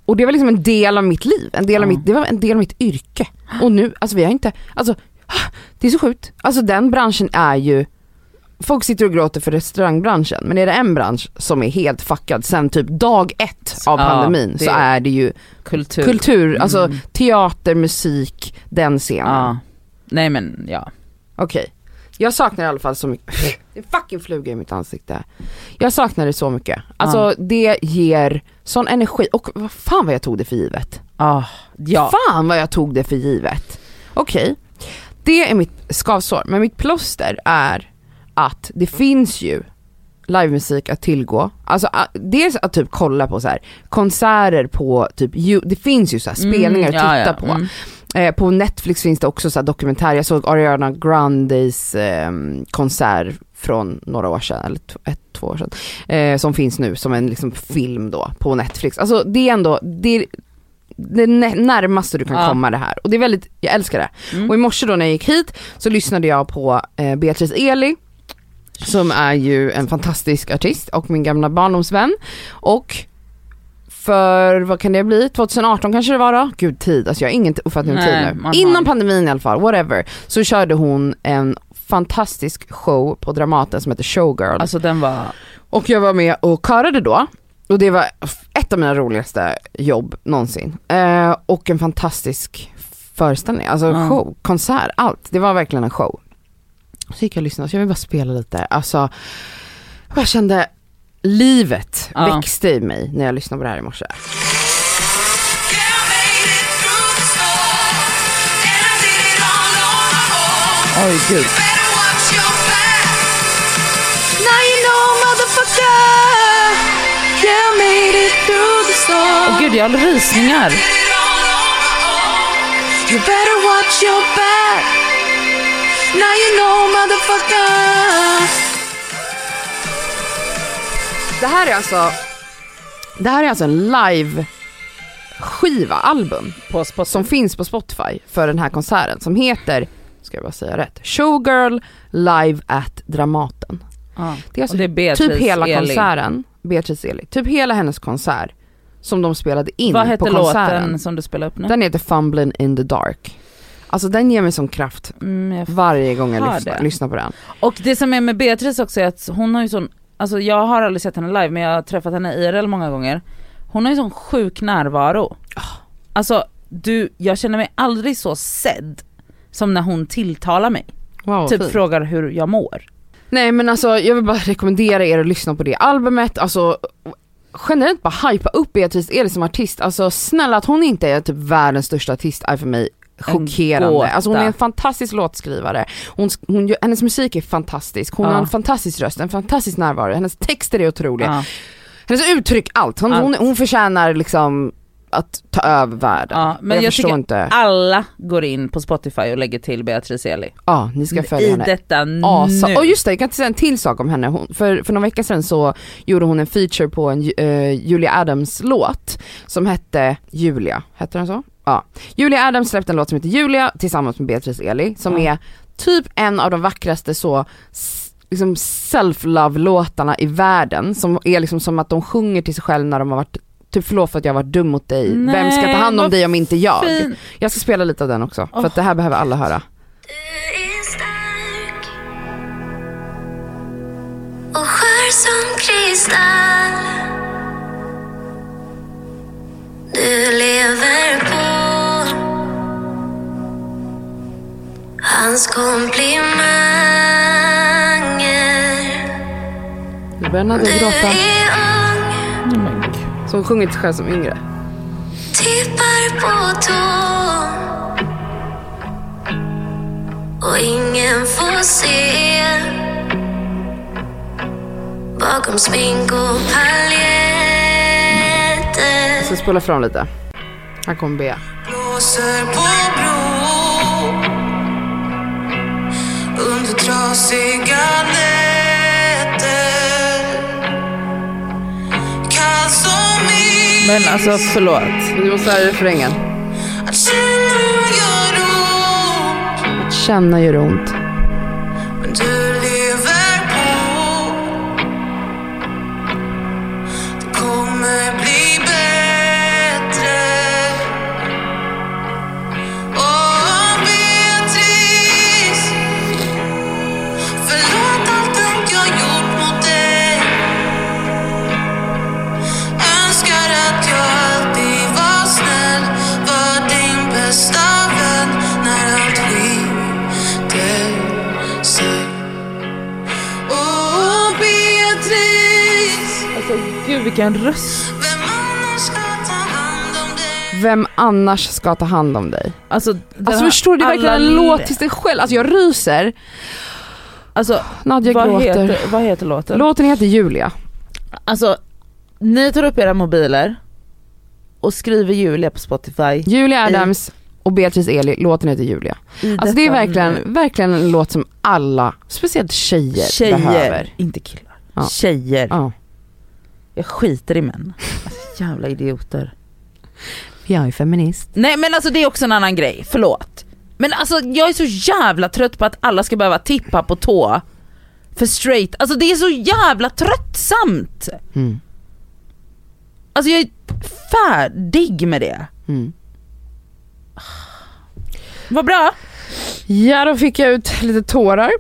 B: och det var liksom en del av mitt liv, en del av
A: Ja.
B: mitt, det var en del av mitt yrke. Och nu, alltså vi har inte, alltså det är så sjukt. Alltså den branschen är ju, folk sitter och gråter för restaurangbranschen, men är det en bransch som är helt fuckad sen typ dag ett av
A: Ja,
B: pandemin
A: det-
B: så är det ju
A: Kultur.
B: kultur, alltså
A: Mm.
B: teater, musik, den scenen.
A: Ja. Nej men ja.
B: Okej. Jag saknar i alla fall så mycket. Det är fucking fluga i mitt ansikte. Jag saknar det så mycket. Alltså
A: Ja.
B: det ger sån energi. Och vad fan vad jag tog det för givet.
A: Ah, ja.
B: Fan vad jag tog det för givet. Okej. Det är mitt skavsår. Men mitt plåster är att det finns ju livemusik att tillgå. Alltså a- dels att typ kolla på så här konserter på typ, ju- det finns ju så här spelningar
A: Mm,
B: att
A: ja,
B: titta
A: ja.
B: på.
A: Mm.
B: Eh, på Netflix finns det också så här dokumentärer, jag såg Ariana Grandes eh, konsert från några år sedan, eller t- ett, två år sedan, eh, som finns nu som en liksom, film då på Netflix. Alltså det är ändå, det är det nä- närmaste du kan
A: Ja.
B: komma det här. Och det är väldigt, jag älskar det.
A: Mm.
B: Och i morse då när jag gick hit så lyssnade jag på eh, Beatrice Eli, som är ju en fantastisk artist och min gamla barndomsvän. Och för, vad kan det bli, 2018 kanske det var då? Gud tid, alltså jag har ingen uppfattning om tid
A: Nej,
B: nu.
A: man har
B: Innan
A: ju-
B: pandemin i alla fall, whatever, så körde hon en fantastisk show på Dramaten som heter Showgirl.
A: Alltså den var...
B: Och jag var med och körade då. Och det var ett av mina roligaste jobb någonsin. Eh, och en fantastisk föreställning, alltså
A: Ja.
B: show, konsert, allt. Det var verkligen en show. Så gick jag och lyssnade, så jag ville bara spela lite. Alltså, jag kände livet
A: Ja.
B: växte i mig när jag lyssnade på det här i morse.
A: Oj gud. Åh gud jag har rysningar.
B: Det här är alltså, det här är alltså en live skiva, album.
A: På spot.
B: som finns på Spotify för den här konserten som heter, ska jag bara säga rätt, Showgirl Live at Dramaten.
A: Ja.
B: Det är alltså
A: Och det är Beatrice
B: typ hela
A: Eli.
B: konserten, Beatrice Eli, typ hela hennes konsert som de spelade in
A: Vad
B: på
A: hette
B: konserten.
A: låten som du spelade upp nu?
B: Den heter Fumbling in the dark. Alltså den ger mig sån kraft
A: Mm, jag
B: varje gång jag
A: Har
B: lyssnar,
A: det.
B: lyssnar på den.
A: Och det som är med Beatrice också är att hon har ju sån, alltså jag har aldrig sett henne live men jag har träffat henne IRL många gånger. Hon har ju sån sjuk närvaro.
B: Ah.
A: Alltså du, jag känner mig aldrig så sedd som när hon tilltalar mig.
B: Wow,
A: typ
B: fint.
A: frågar hur jag mår.
B: Nej men alltså jag vill bara rekommendera er att lyssna på det albumet, alltså generellt bara hypa upp Beatrice Eli som artist, alltså snälla att hon inte är typ världens största artist är för mig chockerande.
A: gåta.
B: Alltså hon är en fantastisk låtskrivare, hon, hon, gör- hennes musik är fantastisk, hon
A: Ja.
B: har en fantastisk röst, en fantastisk närvaro, hennes texter är otroliga,
A: Ja.
B: hennes uttryck, allt. Hon,
A: Allt.
B: Hon, hon förtjänar liksom att ta över världen.
A: Ja, men
B: men jag,
A: jag
B: förstår
A: tycker-
B: inte,
A: Alla går in på Spotify och lägger till Beatrice Eli.
B: ja ni ska följa
A: I
B: henne.
A: detta nu.
B: asa. Och just det, jag kan säga en till sak om henne. Hon, för, för några veckor sedan så gjorde hon en feature på en Ju- eh, Julia Adams låt som hette Julia, hette den så? Ja. Julia Adams släppte en låt som heter Julia tillsammans med Beatrice Eli som
A: Ja.
B: är typ en av de vackraste så s- liksom self-love låtarna i världen som är liksom som att de sjunger till sig själva när de har varit Typ förlåt för att jag har varit dum mot dig, vem ska ta
A: Nej,
B: hand om
A: vad
B: dig om inte jag?
A: fin.
B: Jag ska spela lite av den också, för att det här behöver alla höra.
G: Du är stark och skör som kristall. Du lever på hans komplimanger.
B: Nu börjar Nadja
G: Du
B: gråta.
G: är ung
B: Så hon sjunger till sig själv som yngre.
G: tippar på tå och ingen får se bakom smink och paljetter
B: Så spola fram lite. Här kommer Bea.
H: Blåser på bron under trasiga nätter Kall som is
C: Men alltså förlåt.
B: Du måste höra refrängen.
H: att känna gör ont
B: Att känna gör ont.
H: men du lever på Det kommer bli bättre Åh, Beatrice Förlåt allt dumt jag gjort mot dig Önskar att jag alltid var snäll Var din bästa vän när allt skiter sig Åh Beatrice,
C: Alltså gud vilken röst.
H: vem annars ska ta hand om dig?
B: Vem annars ska ta hand om dig?
C: Alltså, den
B: Alltså
C: har
B: förstår du, det är verkligen
C: alla-
B: en låt till sig själv. Alltså jag ryser.
C: Alltså,
B: Nadja
C: vad,
B: gråter.
C: heter, vad heter låten?
B: Låten heter Julia.
C: Alltså, ni tar upp era mobiler och skriver Julia på Spotify.
B: Julia
C: I-
B: Adams och Beatrice Eli, låten heter Julia.
C: I
B: Alltså det är
C: detta
B: verkligen, verkligen en låt som alla, speciellt tjejer,
C: tjejer,
B: behöver.
C: inte killar.
B: Ja.
C: Tjejer.
B: Ja.
C: Jag skiter i män. Alltså, jävla idioter.
B: Jag är feminist.
C: Nej men alltså det är också en annan grej, förlåt. Men alltså jag är så jävla trött på att alla ska behöva tippa på tå för straight. Alltså det är så jävla tröttsamt.
B: Mm.
C: Alltså jag är färdig med det.
B: Mm.
C: Vad bra.
B: Ja, då fick jag ut lite tårar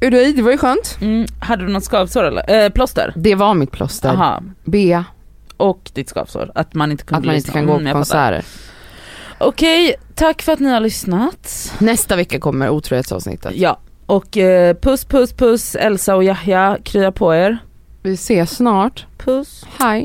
B: ur dig, det var ju skönt.
C: Mm. Hade du något skavsår eller? Eh, plåster?
B: Det var mitt plåster.
C: Aha.
B: Bea,
C: Och ditt skavsår, att man inte kunde
B: att man inte
C: lyssna.
B: kan gå
C: Mm,
B: på
C: jag fattar.
B: konserter.
C: Okej, tack för att ni har lyssnat.
B: Nästa vecka kommer otrohetsavsnittet.
C: Ja, och eh, puss puss puss Elsa och Yahya, krya på er.
B: Vi ses snart.
C: Puss.
B: Hej.